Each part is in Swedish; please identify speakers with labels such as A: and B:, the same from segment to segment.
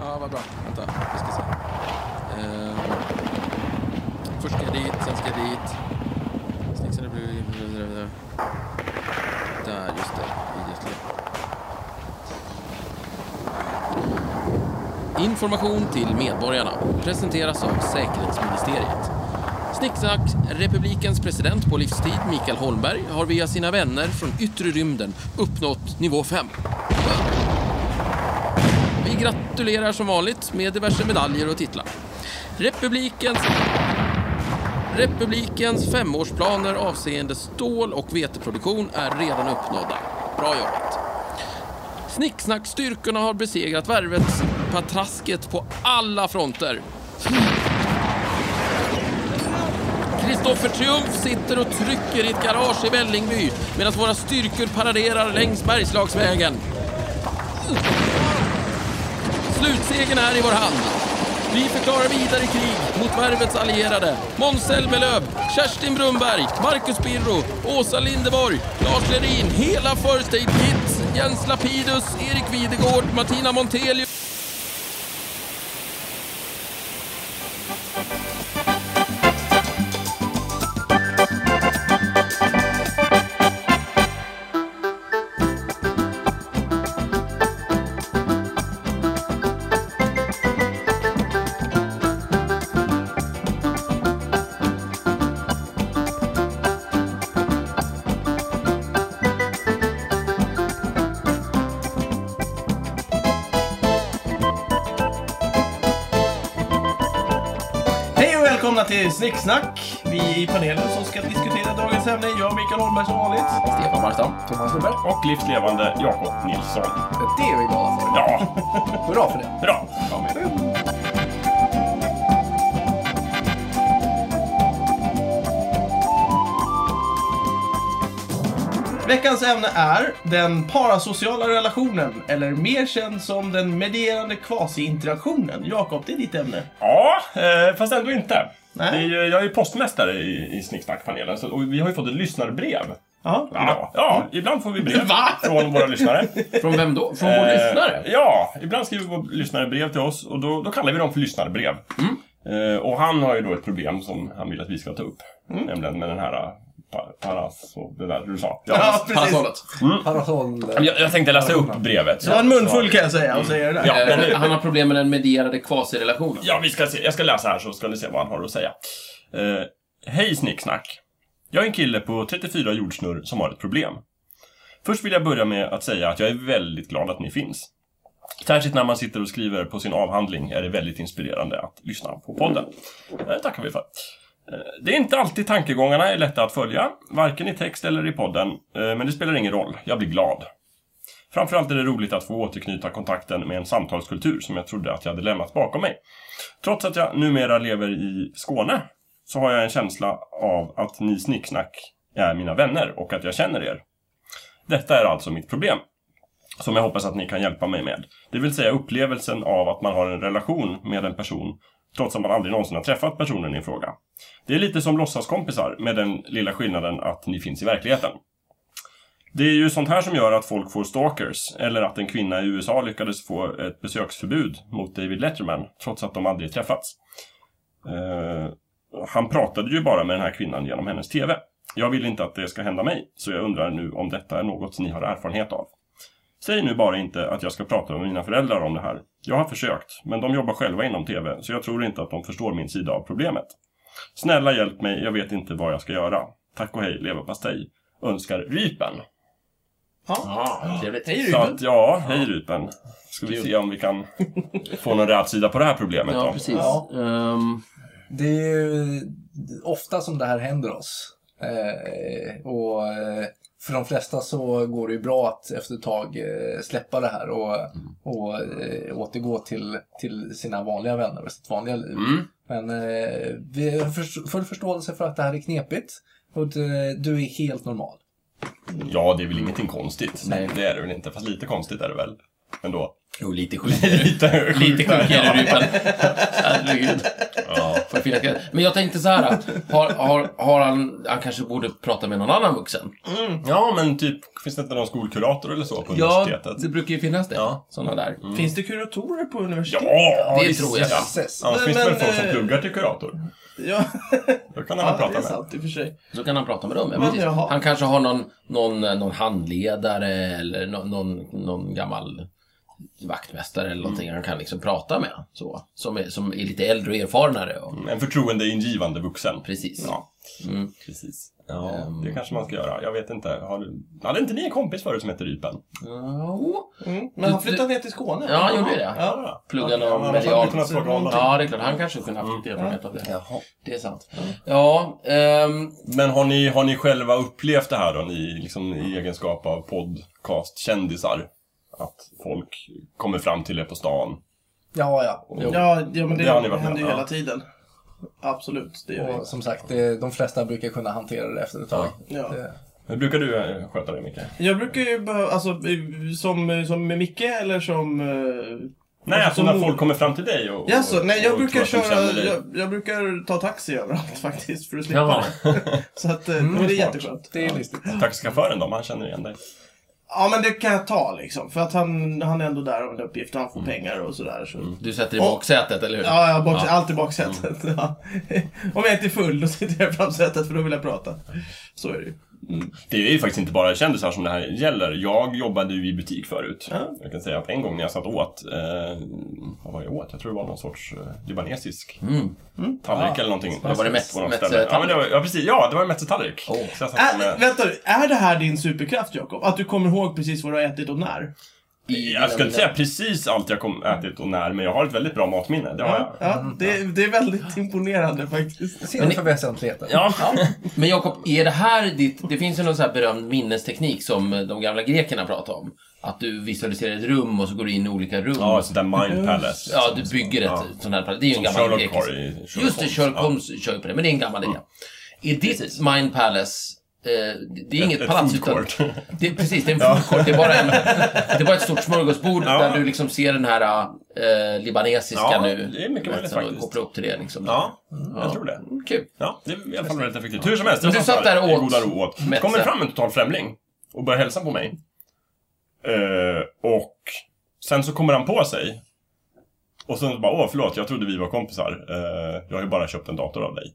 A: Ja, vad bra. Vänta, vi ska se. Ehm, först ska jag dit, sen ska jag dit. Sen ska det bli... Där, just det. Videoklipp. Information till medborgarna presenteras av Säkerhetsministeriet. Snicksnack, republikens president på livstid, Mikael Holmberg, har via sina vänner från yttre rymden uppnått nivå 5. Vi gratulerar som vanligt med diverse medaljer och titlar. Republikens, Republikens femårsplaner avseende stål och veteproduktion är redan uppnådda. Bra jobbat! Snicksnackstyrkorna har besegrat värvets patrasket på alla fronter. Kristoffer Triumf sitter och trycker i ett garage i Vällingby medan våra styrkor paraderar längs Bergslagsvägen. Slutsegern är i vår hand. Vi förklarar vidare krig mot värvets allierade. Måns Zelmerlöw, Kerstin Brunberg, Marcus Birro, Åsa Lindeborg, Lars Lerin, hela First Aid Kit, Jens Lapidus, Erik Videgård, Martina Montelius
B: Hej och välkomna till Snicksnack! Vi i panelen som ska diskutera dagens ämne. Jag Mikael Holmberg som vanligt.
A: Stefan Barstam.
C: Thomas Lundberg.
D: och livslevande Jakob Nilsson.
C: Det är vi glada för.
D: Ja,
C: Hurra för det.
D: bra!
B: Veckans ämne är den parasociala relationen, eller mer känd som den medierande kvasi-interaktionen. Jakob, det är ditt ämne.
D: Ja, eh, fast ändå inte.
B: Nej.
D: Det är ju, jag är ju postmästare i, i Snicksnackpanelen så- och vi har ju fått ett lyssnarbrev.
B: Ja.
D: Idag. Ja, ibland får vi brev
B: Va?
D: från våra lyssnare.
A: Från vem då? Från vår
D: Eh,
A: lyssnare?
D: Ja, ibland skriver vår lyssnare brev till oss och då, då kallar vi dem för lyssnarbrev.
B: Mm.
D: Eh, och han har ju då ett problem som han vill att vi ska ta upp.
B: Mm.
D: Nämligen med den här eh, pa- paras och det där du sa.
B: Ja, precis.
A: Parasollet.
C: Parasoll.
D: Jag, jag tänkte läsa upp brevet.
B: Det var en munfull kan jag säga att säga det där.
D: Ja.
A: Eh,
D: men-
A: Han har problem med den medierade kvasirelationen.
D: Ja, vi ska se. Jag ska läsa här så ska ni se vad han har att säga. Eh, Hej Snicksnack! Jag är en kille på 34 jordsnurr som har ett problem. Först vill jag börja med att säga att jag är väldigt glad att ni finns. Särskilt när man sitter och skriver på sin avhandling är det väldigt inspirerande att lyssna på podden. Det tackar vi för. Eh, Det är inte alltid tankegångarna är lätta att följa, varken i text eller i podden, eh, men det spelar ingen roll. Jag blir glad. Framförallt är det roligt att få återknyta kontakten med en samtalskultur som jag trodde att jag hade lämnat bakom mig. Trots att jag numera lever i Skåne så har jag en känsla av att ni snicksnack är mina vänner och att jag känner er. Detta är alltså mitt problem. Som jag hoppas att ni kan hjälpa mig med. Det vill säga upplevelsen av att man har en relation med en person trots att man aldrig någonsin har träffat personen i fråga. Det är lite som låtsaskompisar med den lilla skillnaden att ni finns i verkligheten. Det är ju sånt här som gör att folk får stalkers, eller att en kvinna i USA lyckades få ett besöksförbud mot David Letterman, trots att de aldrig träffats. Eh, han pratade ju bara med den här kvinnan genom hennes TV. Jag vill inte att det ska hända mig, så jag undrar nu om detta är något ni har erfarenhet av. Säg nu bara inte att jag ska prata med mina föräldrar om det här. Jag har försökt, men de jobbar själva inom TV, så jag tror inte att de förstår min sida av problemet. Snälla hjälp mig, jag vet inte vad jag ska göra. Tack och hej, leverpastej. Önskar Rypen.
A: Trevligt.
B: Hej
D: Så
B: Ruben.
D: att, ja, hej Rupen. Ska vi se om vi kan få någon rätsida på det här problemet
A: Ja,
D: då.
A: precis.
C: Ja.
A: Ehm,
C: Det är ju ofta som det här händer oss. Eh, och eh, för de flesta så går det ju bra att efter ett tag eh, släppa det här och,
A: Mm.
C: och eh, återgå till, till sina vanliga vänner och sitt vanliga liv.
A: Mm.
C: Men eh, vi har förs- full förståelse för att det här är knepigt. Och du, du är helt normal.
D: Ja, det är väl ingenting konstigt.
A: Nej.
D: Det är det väl inte. Fast lite konstigt är det väl. Ändå.
A: Jo, lite sjuk.
D: Lite hög.
A: Lite sjuk är du, Ruben. Herregud.
D: Ja.
A: Får fylla skratt. Men jag tänkte så här. Har, har, har han, han kanske borde prata med någon annan vuxen?
D: ja, men typ, finns det inte någon skolkurator eller så på
A: Ja, det
D: universitetet?
A: brukar ju finnas det.
D: Ja.
A: Sådana där.
C: Mm. Finns det kuratorer på
D: Ja,
C: universitetet?
D: ja
A: det
D: visst.
A: tror jag.
E: Jösses.
D: Annars
C: Men-
D: finns det väl
C: men,
D: folk som
C: eh,
D: pluggar till kurator.
C: Ja,
D: Då kan han
C: ja
D: väl
C: det är
D: prata med.
C: sant i och för sig.
A: Så kan han prata med dem. Ja,
C: Men
A: precis.
C: jaha.
A: han kanske har någon, någon, någon handledare eller någon, någon, någon gammal vaktmästare eller någonting han kan liksom prata med. Så, som, är, som är lite äldre och erfarenare. Och,
D: En förtroendeingivande vuxen.
A: Precis.
D: Ja.
A: Mm.
D: Precis. Ja, det kanske man ska göra. Jag vet inte. Har du... Hade inte ni en kompis förut som hette Rypen?
A: Ja,
C: Mm. Men han flyttade ner till Skåne.
A: Ja, han gjorde ju det.
C: Ja.
A: Plugga
D: Ja,
A: någon
D: men annars hade vi
A: medial...
D: kunnat fråga honom.
A: Ja, det är klart. Han kanske kunde ha haft erfarenhet av det.
E: Jaha.
A: Det är sant. Ja, ehm,
D: Men har ni, har ni själva upplevt det här då, ni, liksom, i egenskap av podcastkändisar? Att folk kommer fram till er på stan?
E: Ja, ja.
A: Jo.
C: Ja, ja, men det,
D: Det har ni varit
C: händer ju
D: med om,
C: hela
D: ja.
C: tiden. Absolut, det gör det.
E: Och som sagt, eh, de flesta brukar kunna hantera det efter ett tag.
C: Ja.
E: Det-
D: Hur brukar du eh, sköta det, Micke?
C: Jag brukar ju behöva, alltså eh, som, eh, som med Micke eller som... eh,
D: Nej, alltså
C: som
D: när
C: mor-
D: folk kommer fram till dig och...
C: Jaså, nej jag
D: och
C: brukar
D: tror att de känner
C: köra,
D: dig.
C: jag, jag brukar ta taxi överallt faktiskt för att slippa
A: ja.
C: det. Så att eh, det är
D: Mm. smart.
C: jätteskönt.
E: Det är listigt.
D: Taxichauffören då, om han känner igen dig?
C: Ja men det kan jag ta liksom, för att han, han är ändå där av en uppgift och han
D: Mm.
C: får pengar och sådär. Så.
A: Du sätter dig i baksätet, eller hur?
C: Ja, jag bak, allt i baksätet.
D: Mm.
C: Ja. Om jag inte är full då sitter jag i framsätet för då vill jag prata. Så är det ju.
D: Det är ju faktiskt inte bara kändisar som det här gäller. Jag jobbade ju i butik förut.
C: Ja.
D: Jag kan säga att en gång när jag satt åt, eh, vad var jag åt? Jag tror det var någon sorts eh, libanesisk
A: Mm.
D: tallrik eller någonting.
A: Ah. var det
D: På något
A: metz-
D: ställe. Ja, men det var,
A: metzetallrik?
D: ja, precis. Ja, det var en metzetallrik.
A: Åh.
D: Så jag satt eh,
C: Äh,
D: med,
C: vänta nu, är det här din superkraft Jakob? Att du kommer ihåg precis vad du har ätit och när?
A: I-
D: jag skulle inte säga precis allt jag kom ätit och när, men jag har ett väldigt bra matminne. Det har jag.
C: Ja, ja det, det är väldigt imponerande faktiskt.
E: Sen för väsentligheten.
D: Ja.
A: Men Jakob, är det här ditt... Det finns ju någon sån här berömd minnesteknik som de gamla grekerna pratade om. Att du visualiserar ett rum och så går du in i olika rum.
D: Ja, sånt där Mind Palace.
A: Mm. Ja, du bygger ett
D: Ja.
A: sånt här... Det är ju en
D: Som
A: gammal
D: Sherlock
A: grekisk...
D: har i Sherlock
A: Just det,
D: Holmes.
A: Sherlock
D: Ja.
A: Holmes kör ju på det, men det är en gammal idé. Är ditt Mind Palace... eh, det- Det är inget
D: ett
A: palats
D: food
A: utan...
D: court.
A: Det, är- precis, det är en food court. Det är bara, en, det är bara ett stort smörgåsbord
D: Ja.
A: där du liksom ser den här eh, libanesiska
D: Ja,
A: nu.
D: det är mycket möjligt
A: Som
D: faktiskt.
A: Kopplar upp till det liksom.
D: Ja, jag tror det.
A: Kul.
D: Ja, det är i alla fall väldigt effektivt. Hur som helst, jag
A: Du satt där och
D: i
A: åt
D: goda ro åt.
A: metze.
D: kommer fram en total främling och börjar hälsa på mig. Eh, och sen så kommer han på sig. Och sen bara, åh förlåt, jag trodde vi var kompisar. Eh, jag har ju bara köpt en dator av dig.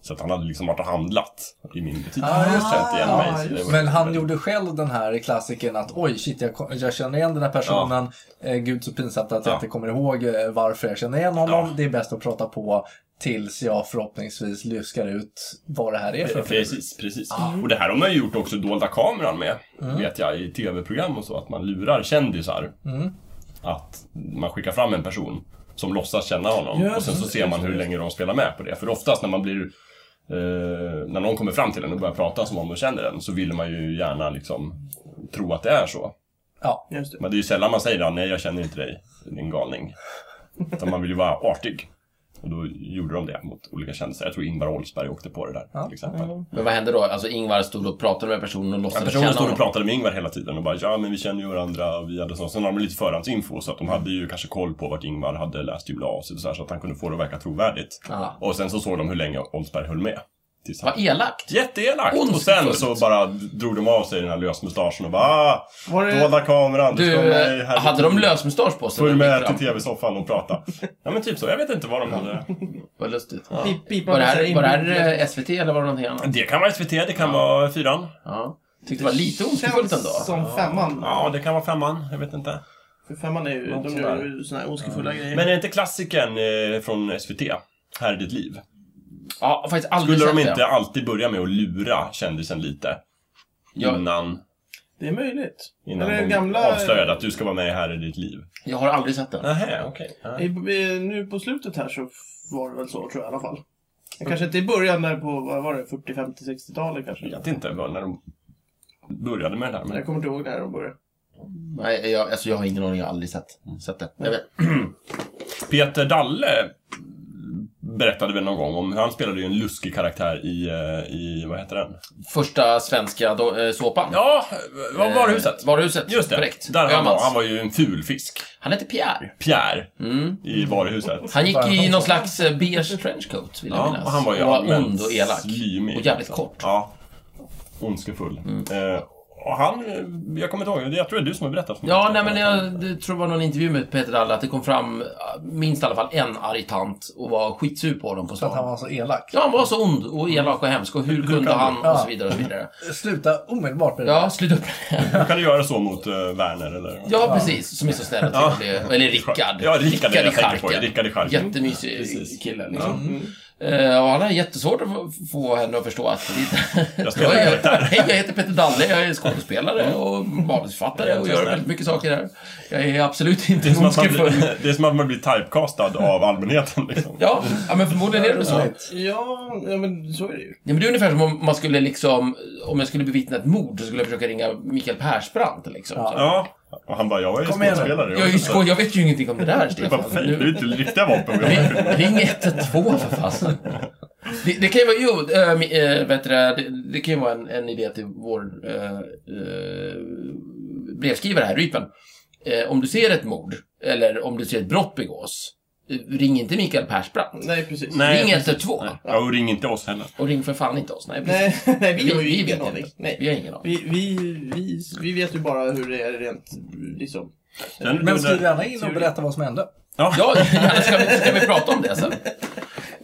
D: Så att han hade liksom varit och handlat i min butik.
E: Ah, just det.
D: Känt igen mig,
C: Ah,
D: så det
C: just
D: var-
E: Men han gjorde själv den här klassiken att oj, shit, jag, ko- jag känner igen den här personen. Eh, gud så pinsamt att jag
D: Ja.
E: inte kommer ihåg eh, varför jag känner igen honom.
D: Ja.
E: Det är bäst att prata på tills jag förhoppningsvis lyskar ut vad det här är för
D: Precis, precis. Och det här har man ju gjort också i dolda kameran med, vet jag, i tv-program och så, att man lurar kändisar. Att man skickar fram en person som låtsas känna honom och sen så ser man hur länge de spelar med på det. För oftast när man blir eh, när någon kommer fram till en och börjar prata som om de känner den så vill man ju gärna liksom tro att det är så.
E: Ja,
C: Just det.
D: Men det är ju sällan man säger då, nej jag känner inte dig, din galning. Utan man vill ju vara artig. Och då gjorde de det mot olika kändisar. Jag tror Ingvar Oldsberg åkte på det där till exempel.
A: Men vad hände då? Alltså Ingvar stod och pratade med personen och
D: Ja,
A: låtsades
D: personen
A: känna
D: stod och
A: honom.
D: pratade med Ingvar hela tiden och bara ja men vi känner ju varandra och vi hade så. Sen hade de lite förhandsinfo så att de hade ju kanske koll på vart Ingvar hade läst gymnasiet och så, här, så att han kunde få det att verka trovärdigt.
A: Ja.
D: Och sen så såg de hur länge Oldsberg höll med. Tills han...
A: Vad elakt!
D: Jätteelakt! Och sen
A: Ondskefullt.
D: så bara drog de av sig den här lösmustaschen och bara ah,
C: Var det-
D: dolda kameran,
A: Du,
D: ska med
A: eh,
D: här-
A: hade de lösmustasch på sig? när
D: Följ
A: de
D: med
A: gick
D: till
A: fram?
D: tv-soffan och prata. Ja men typ så, jag vet inte vad de hade.
A: Vad lustigt.
C: Pip, pipa
A: Var det
C: med så
A: här, var det
C: inbyggd-
A: här eh, SVT eller var det någonting annat?
D: Det kan vara SVT, det kan vara fyran.
A: Ja. Tyckte det var lite ondskefullt
C: Känns
A: ändå.
C: som femman.
D: Ja, det kan vara femman, jag vet inte.
C: För femman är ju, de
D: sån
C: gör
D: där.
C: ju såna här ondskefulla grejer.
D: Men är inte klassikern eh, från SVT, Här är ditt liv?
A: Ja, jag har faktiskt aldrig
D: Skulle de
A: sett det.
D: inte alltid börja med att lura kändisen lite?
A: Ja.
D: Innan,
C: det är möjligt.
D: innan
C: Eller
D: de
C: gamla-
D: avslöjade att du ska vara med i Här är ditt liv.
A: Jag har aldrig sett det.
D: Nähä, okej.
C: I, i, nu på slutet här så var det väl så, tror jag i alla fall. Kanske inte i början där på, vad var det, 40, 50, 60-talet kanske?
D: Jag vet inte vad- när de började med det här.
C: Jag
D: Men...
C: kommer inte ihåg när de började.
A: Nej, jag, alltså, jag har ingen aning. Jag har aldrig sett, sett det. Jag vet.
D: Peter Dalle berättade väl någon gång om hur han spelade ju en luskig karaktär i, eh, i vad heter den?
A: Första svenska do- eh, såpan.
D: Ja, vad var huset?
A: Eh, Varuhuset.
D: Just det,
A: Korrekt.
D: där han var.
A: Öhmans.
D: Han var ju en ful fisk.
A: Han hette Pierre.
D: Pierre i varuhuset.
A: Han gick
E: Bara
A: i
E: han
A: någon
E: som-
A: slags eh, beige trenchcoat, vill jag
D: Ja,
A: minnas.
D: och han var ju allmänt
A: ond och elak.
D: slymig,
A: och jävligt
D: liksom.
A: kort. Mm.
D: Ja. Ondskefull. Eh, och han, eh, jag kommer inte ihåg, jag tror det är du som har berättat för mig.
A: Ja, nej men jag det tror det var någon intervju med Peter Dalle att det kom fram eh, minst i alla fall en arg tant och var skitsur på honom på
E: För att han
A: stan.
E: var så elak.
A: Ja, han var så ond och elak och hemsk och hur kunde han och så vidare och så vidare.
E: Sluta omedelbart med det
A: Ja, sluta upp med det.
D: Kan du göra så mot eh, Werner eller?
A: Ja, precis. Som är så snäll och trevlig. Eller Rickard.
D: Ja, Rickard är det
A: i
D: jag tänker på.
A: Charken.
D: Rickard i Charken.
A: Jättemysig
D: Precis.
A: kille liksom.
E: Mm.
A: Eh, och han har jättesvårt att få- få henne att förstå att...
D: Jag spelar
A: jag,
D: karaktär.
A: hej, jag heter Peter Dalle, jag är skådespelare och
E: Mm.
A: manusförfattare och gör väldigt mycket saker här. Jag är absolut inte
D: Det är, som att man
A: ondskefull.
D: blir, det är som att man blir typecastad av allmänheten liksom.
A: Ja, ja, men förmodligen är det så.
C: Ja, ja, men så är det ju.
A: Ja, men det är ungefär som om man skulle liksom, om jag skulle bevittna ett mord så skulle jag försöka ringa Mikael Persbrandt liksom. Så.
D: Ja. Och han bara, jag är
E: Kom igen nu.
D: skådespelare.
A: Jag, är ju
D: vet
A: skoj,
D: inte.
A: jag vet ju ingenting om det där,
D: Det är bara
A: Stefan.
D: fejk, det är
A: Nu-
D: ju inte riktiga vapen vi
A: Ring,
D: har.
A: ring 112 för fasen. Det, det kan ju vara, jo, äh, mi- äh, vet du, det, det, det kan ju vara en, en idé till vår äh, äh, brevskrivare här, Rypen. Eh, om du ser ett mord, eller om du ser ett brott begås, eh, ring inte Mikael Persbrandt.
C: Nej, precis.
D: Nej,
A: ring
D: precis.
A: 112.
D: Ja, och ring inte oss heller.
A: Och ring för fan inte oss. Nej, precis.
C: Nej, nej vi har ju ingen
A: vet
C: aning.
A: inte. Vi
C: Nej.
A: har ingen aning.
C: Vi, vi, vi, vi vet ju bara hur det är rent, liksom.
D: Den-
E: Men
D: den-
E: skriv gärna in och berätta vad som hände.
A: Ja, gärna ska vi, ska vi prata om det sen.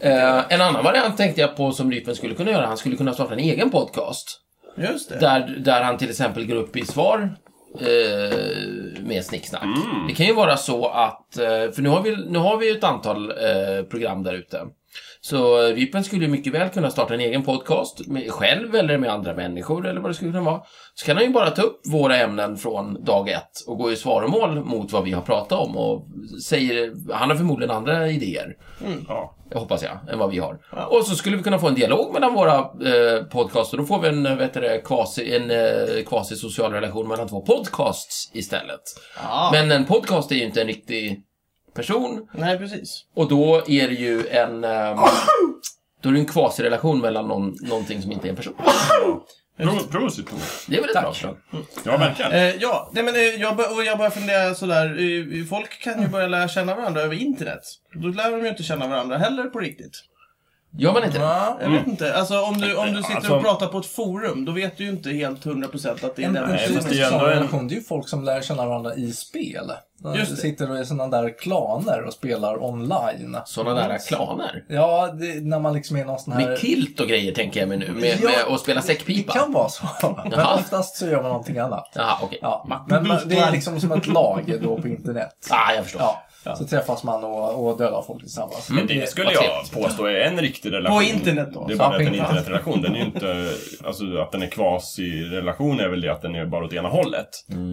A: Eh, en annan variant tänkte jag på som Rypen skulle kunna göra, han skulle kunna starta en egen podcast.
C: Just det.
A: Där, där han till exempel går upp i svar eh, med snicksnack. Det kan ju vara så att, eh, för nu har vi, nu har vi ju ett antal eh, program där ute. Så eh, Rypen skulle ju mycket väl kunna starta en egen podcast, med, själv eller med andra människor eller vad det skulle kunna vara. Så kan han ju bara ta upp våra ämnen från dag ett och gå i svaromål mot vad vi har pratat om och säger, han har förmodligen andra idéer.
D: Ja.
A: Jag hoppas jag, än vad vi har. Och så skulle vi kunna få en dialog mellan våra eh, podcaster. Då får vi en, eh, vet du, det, quasi, en eh, quasi-social relation mellan två podcasts istället.
C: Ja.
A: Men en podcast är ju inte en riktig person.
C: Nej, precis.
A: Och då är det ju en... ehm, då är det en quasi-relation mellan någon, någonting som inte är en person.
D: Pro- Prosit. Tor.
A: Det är väl ett bra förslag.
D: Ja, verkligen.
C: Eh, ja, nej, men eh, jag, bör, och jag börjar fundera sådär. eh, Folk kan ju börja lära känna varandra över internet. Då lär de ju inte känna varandra heller på riktigt.
A: Gör man inte det?
C: Jag vet inte. Alltså om du, om du sitter
D: Mm. Alltså-
C: och pratar på ett forum, då vet du ju inte helt 100% att det är
E: En
C: den
D: Nej,
E: precis
D: fast det är
E: sån
D: ändå en-
E: relation, det är ju folk som lär känna varandra i spel. De
C: Just det.
E: sitter och är sådana där klaner och spelar online.
A: Sådana där klaner.
E: Ja, det, när man liksom är någon sån här...
A: Mm. Med kilt och grejer tänker jag mig nu. Med,
E: Ja,
A: med, och spela
E: Det
A: säckpipa.
E: kan vara så. Men
A: Jaha.
E: oftast så gör man någonting annat.
A: Jaha, okej.
E: Ja, men man, det är liksom som ett lag då på internet.
A: Ah, jag förstår.
E: Ja, så träffas man och, och dödar folk tillsammans.
D: Men det skulle
A: vad
D: jag
A: trevligt.
D: påstå är en riktig relation.
C: På internet då?
D: Det är bara
E: Ja,
D: att det är en
E: på
D: internetrelation. Den är ju inte... Alltså att den är quasi-relation är väl det att den är bara åt ena hållet.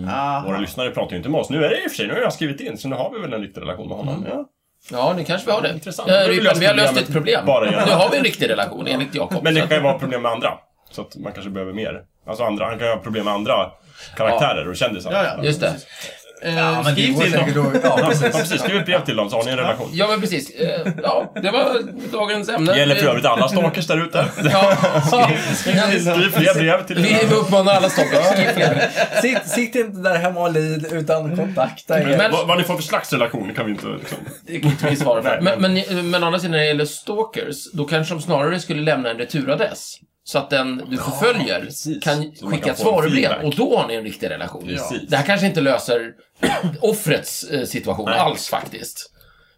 C: Ah,
D: Våra lyssnare pratar ju inte med oss. Nu är det i och för sig, nu har jag skrivit in, så nu har vi väl en riktig relation med honom.
C: Mm.
D: Ja.
A: Ja, nu kanske vi har det.
D: Intressant.
A: Eh,
D: Då har vi
A: Rypen,
D: löst
A: vi har
D: problemet
A: löst ett problem.
D: bara genom-
A: Nu har vi en riktig relation, enligt Jakob.
D: Men
A: Så
D: det
A: att-
D: kan ju vara problem med andra. Så att man kanske behöver mer. Alltså andra, han kan ju ha problem med andra karaktärer och kändisar.
C: ja, ja.
A: Just det.
C: Eh,
E: Ja, men det
C: skriv
E: går
C: till dem.
E: säkert att... Ja,
D: Ja,
E: precis.
D: precis. Skriv ett brev till dem så har ni en relation.
A: Ja, men precis. Eh, Ja, det var dagens ämne.
D: Det gäller för övrigt alla stalkers där ute.
A: Ja.
D: Skriv fler brev till
A: Vi
D: era-
A: uppmanar alla stalkers.
E: Sitt, sitt inte där hemma och lid utan kontakta er.
A: Men-
D: Vad, vad ni får för slags relation kan vi inte liksom...
A: Det kan inte vi svara för.
D: Nej,
A: Men, men, men å andra sidan, när det gäller stalkers, då kanske de snarare skulle lämna en returadress. Så att den du förföljer
D: precis.
A: kan
D: Så man kan
A: skicka ett
D: få en
A: svarobrev
D: feedback.
A: och då har ni en riktig relation.
D: Precis.
A: Det här kanske inte löser offrets eh, situation
D: Nej.
A: alls faktiskt.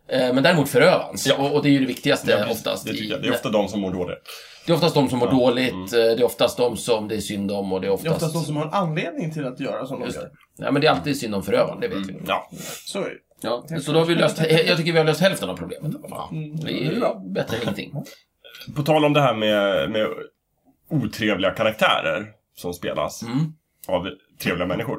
A: Eh, Men däremot förövarens.
D: Ja.
A: Och, och det är ju det viktigaste
D: Ja, precis.
A: oftast.
D: Det, tycker
A: i-
D: jag. det är Mm. ofta de som mår dåligt.
A: Det är oftast de som mår dåligt, eh, det är oftast de som det är synd om och det är
C: Det
A: oftast...
C: är oftast de som har en anledning till att göra som de
A: Just det.
C: gör.
A: Nej, men det är alltid synd om förövaren, det vet vi.
D: Ja.
C: Så är det ju.
A: Ja. Så då har vi löst, jag tycker vi har löst hälften av problemet. Ja.
D: Mm.
A: Det är ju bättre än ingenting.
D: På tal om det här med, med otrevliga karaktärer som spelas
A: Mm.
D: av trevliga människor.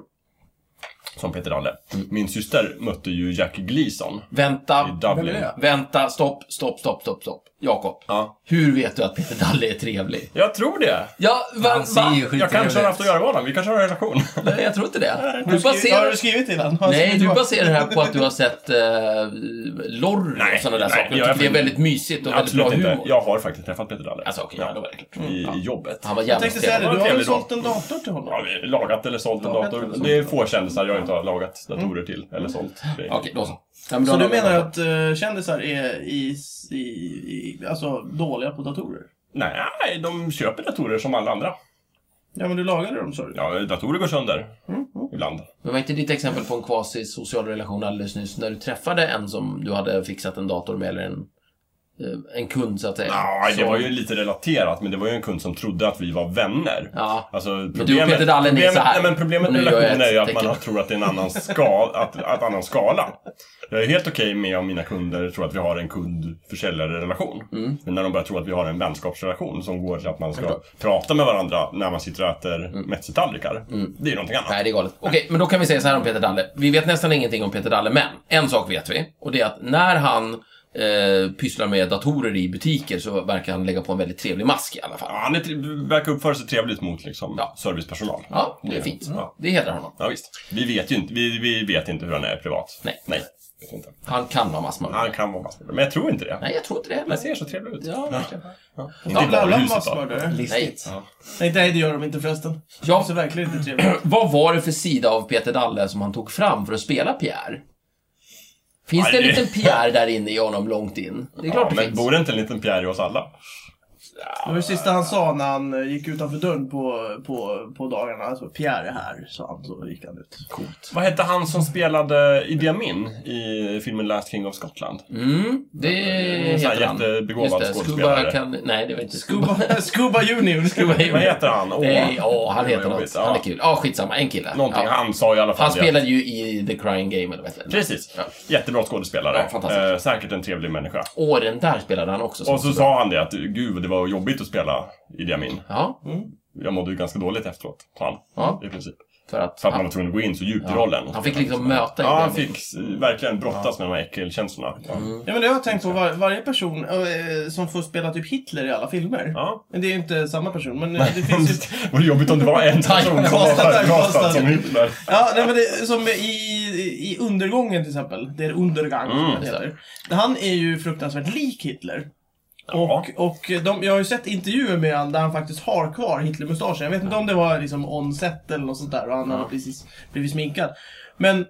D: Som Peter Dalle. Min syster mötte ju Jack Gleason
A: Vänta,
D: i Dublin.
E: Vem är det?
A: vänta, stopp, stopp, stopp, stopp, stopp. Jakob,
D: Ja.
A: hur vet du att Peter Dalle är trevlig?
D: Jag tror det.
A: Ja, va,
E: Han ser ju skit
D: Jag kanske har haft att göra med honom. Vi kanske har en relation.
A: Nej, jag tror inte det. Du
C: Skriv, har
A: baserar...
C: du skrivit till den? Har jag
A: Nej,
C: skrivit
A: du
C: tillbaka?
A: baserar det här på att du har sett eh, Lorry
D: Nej,
A: och sådana där
D: nej,
A: saker.
D: jag
A: Jag
D: är
A: tycker det är
D: för-
A: väldigt mysigt och väldigt bra
D: Absolut inte.
A: humor.
D: Jag har faktiskt träffat Peter Dalle.
A: Alltså, okej, ja, då var det klart.
D: I, I jobbet.
A: Han var
C: Jag
A: jävligt
C: tänkte säga
A: trevlig.
C: det, du har
D: Trevlig
C: ju
D: dag.
C: sålt en dator till honom.
D: Ja, vi- lagat eller sålt en
C: Lagat
D: dator.
C: eller sålt.
D: Det är få kändisar jag inte har lagat datorer till. Eller sålt. grejer.
A: Mm. Okej, då så. Ja, men då
C: Så du
A: har vi-
C: menar att eh, kändisar är i, i, i, alltså, dåliga på datorer?
D: Nej, de köper datorer som alla andra.
C: Ja, men du lagade dem sa du.
D: Ja, datorer går sönder.
A: Mm,
D: Ibland.
A: Men var inte ditt exempel på en quasi-social relation alldeles nyss när du träffade en som du hade fixat en dator med eller en, eh, en kund så att säga?
D: Nej, det
A: Så-
D: var ju lite relaterat, men det var ju en kund som trodde att vi var vänner.
A: Ja.
D: Alltså,
A: och Peter Dalle, ni är
D: problemet,
A: så här.
D: nej, men problemet
A: Och nu
D: med
A: gör jag
D: relationer är
A: ett
D: ju att man
A: tecken.
D: har, tror att det är en annan, skal, att, att annan skala. Jag är helt okej med om mina kunder tror att vi har en kund-försäljarrelation.
A: Mm.
D: Men när de börjar tro att vi har en vänskapsrelation som går till att man ska prata med varandra när man sitter och äter metzetallrikar. Det är ju någonting
A: Mm.
D: annat.
A: Nej, det är galet. Okej, men då kan vi säga så här om Peter Dalle. Vi vet nästan ingenting om Peter Dalle, men en sak vet vi. Och det är att när han eh, pysslar med datorer i butiker så verkar han lägga på en väldigt trevlig mask i alla fall.
D: Ja, han är, tri- verkar uppföra sig trevligt mot liksom,
A: Ja.
D: servicepersonal.
A: Ja, det är fint.
D: Ja.
A: Det hedrar honom.
D: Ja, visst. Vi vet ju inte, vi, vi vet inte hur han är privat.
A: Nej.
D: Nej. Vet inte.
A: Han kan vara maskmördare.
D: Han kan vara massmördare, men jag tror inte det.
A: Nej, jag tror inte det
D: Han
A: heller.
D: ser så trevlig ut.
A: Ja, verkligen.
D: Inte i
C: Alla alla
D: varuhuset, va?
C: massmördare.
A: Nej.
C: eh. Nej, nej, det gör de inte förresten.
A: Ja.
C: De ser verkligen inte trevliga ut.
A: Vad var det för sida av Peter Dalle som han tog fram för att spela Pierre? Finns
D: Ja,
A: det en
D: det-
A: liten Pierre där inne i honom långt in? Det är klart
D: Ja,
A: det
D: men
A: finns.
D: bor det inte en liten Pierre i oss alla?
C: Det var det sista han sa när han eh, gick utanför dörren på, på, på dagarna. Alltså, Pierre är här, sa han. Så gick han ut.
D: Vad hette han som spelade Idi Amin i filmen Last King of Scotland?
A: Mm, det
D: En sån här
A: heter han.
D: jättebegåvad
A: Just det,
D: skådespelare.
A: Scuba kan... Nej, det var inte Scuba.
C: Scuba, Scuba Junior.
A: Scuba
D: Vad heter han? Åh.
A: Nej, Eh, ja, han
D: Det
A: heter
D: var
A: något.
D: jobbigt,
A: Han är
D: ja.
A: kul. Ja, skitsamma. En kille.
D: Någonting.
A: Ja.
D: Han sa i alla fall
A: Han
D: det.
A: spelade ju i The Crying Game, eller vad heter det?
D: Precis.
A: Ja.
D: Jättebra skådespelare.
A: Ja, fantastiskt.
D: Eh, säkert en trevlig människa.
A: Och den där spelade han också. som-
D: Och så sa han det att gud, det var jobbigt att spela Idi Amin.
A: Ja,
D: Jag mådde ju ganska dåligt efteråt, sa han.
A: Ja.
D: I princip.
A: för att...
D: För att man
A: han,
D: var tvungen att gå in så djupt i rollen.
A: han fick liksom möta...
D: Ja, han fick s- verkligen brottas med de här äckelkänslorna.
A: Mm.
C: Ja, men det har jag tänkt på. Var, varje person eh, som får spela typ Hitler i alla filmer.
D: Ja.
C: Men det är ju inte samma person. Men eh, det finns ju...
D: Vad jobbigt om det var en person som var
C: Typecastad,
D: typecastad
C: typecastad.
D: som Hitler.
C: Ja, nej, men det, är som i, i Undergången till exempel. Det är Undergang som
D: Mm.
C: den heter. Han är ju fruktansvärt lik Hitler.
D: Ja.
C: Och, och de, jag har ju sett intervjuer med honom där han faktiskt har kvar Hitlermustaschen. Jag vet inte om det var liksom on-set eller något sånt där och han hade precis blivit sminkad. Men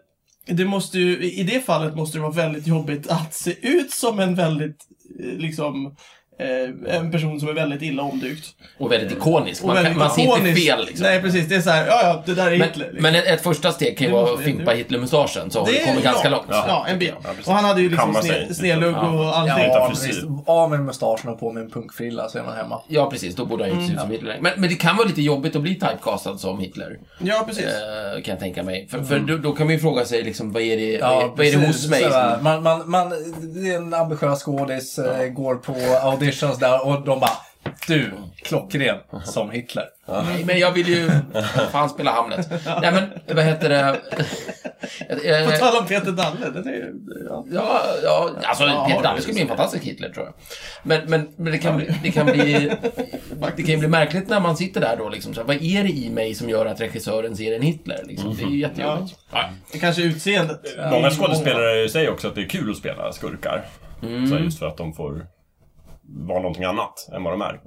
C: det måste ju, i det fallet måste det vara väldigt jobbigt att se ut som en väldigt, eh, liksom, eh, en person som är väldigt illa omtyckt.
A: Och väldigt ikonisk. Man, kan,
C: väldigt
A: man ser inte
C: ikonisk.
A: fel liksom.
C: Nej, precis. Det är så här, ja, ja, det där är
A: Men,
C: Hitler. liksom.
A: men ett, ett första steg kan ju
C: Det
A: vara att
C: måste vi-
A: fimpa Hitlermustaschen, så har
C: Det
A: vi
C: är-
A: kommit ganska
C: ja.
A: långt.
D: Ja.
C: Ja, en bit.
D: Ja, precis.
C: och han hade ju liksom
D: Kamma sig
C: sne,
D: lite.
C: snedlugg och allting.
D: Byta
E: Ja,
D: frisyr.
E: precis. Av med mustaschen och på med en punkfrilla så är man hemma.
A: Ja, precis. Då borde han ju se ut
D: Mm.
A: som Hitler. Men, men det kan vara lite jobbigt att bli typecastad som Hitler.
C: Ja, precis.
A: eh, Kan jag tänka mig. För,
D: Mm.
A: för då, då kan man ju fråga sig liksom, vad är det, vad,
E: Ja,
A: är, vad är det
E: precis.
A: hos mig?
E: Sådär.
A: som-
E: Man, man, man, det är en ambitiös skådis, eh, går på auditions där och de bara Du, klockren som Hitler.
A: Nej, men jag vill ju... Fan, spela Hamlet. Nej, men vad heter det? Eh,
C: På tal om Peter Dalle, den är ju... Ja.
A: Ja, ja, alltså
C: Ja,
A: Peter Dalle
C: det-
A: skulle bli en fantastisk Hitler tror jag. Men, men, men det kan bli, det kan bli, det kan ju bli märkligt när man sitter där då liksom. Så här, vad är det i mig som gör att regissören ser en Hitler liksom?
C: Mm.
A: Det är ju jättejobbigt.
C: Det kanske är utseendet.
D: Många skådespelare säger också att det är kul att spela skurkar.
C: Mm.
D: Så här, just för att de får vara någonting annat än vad de är.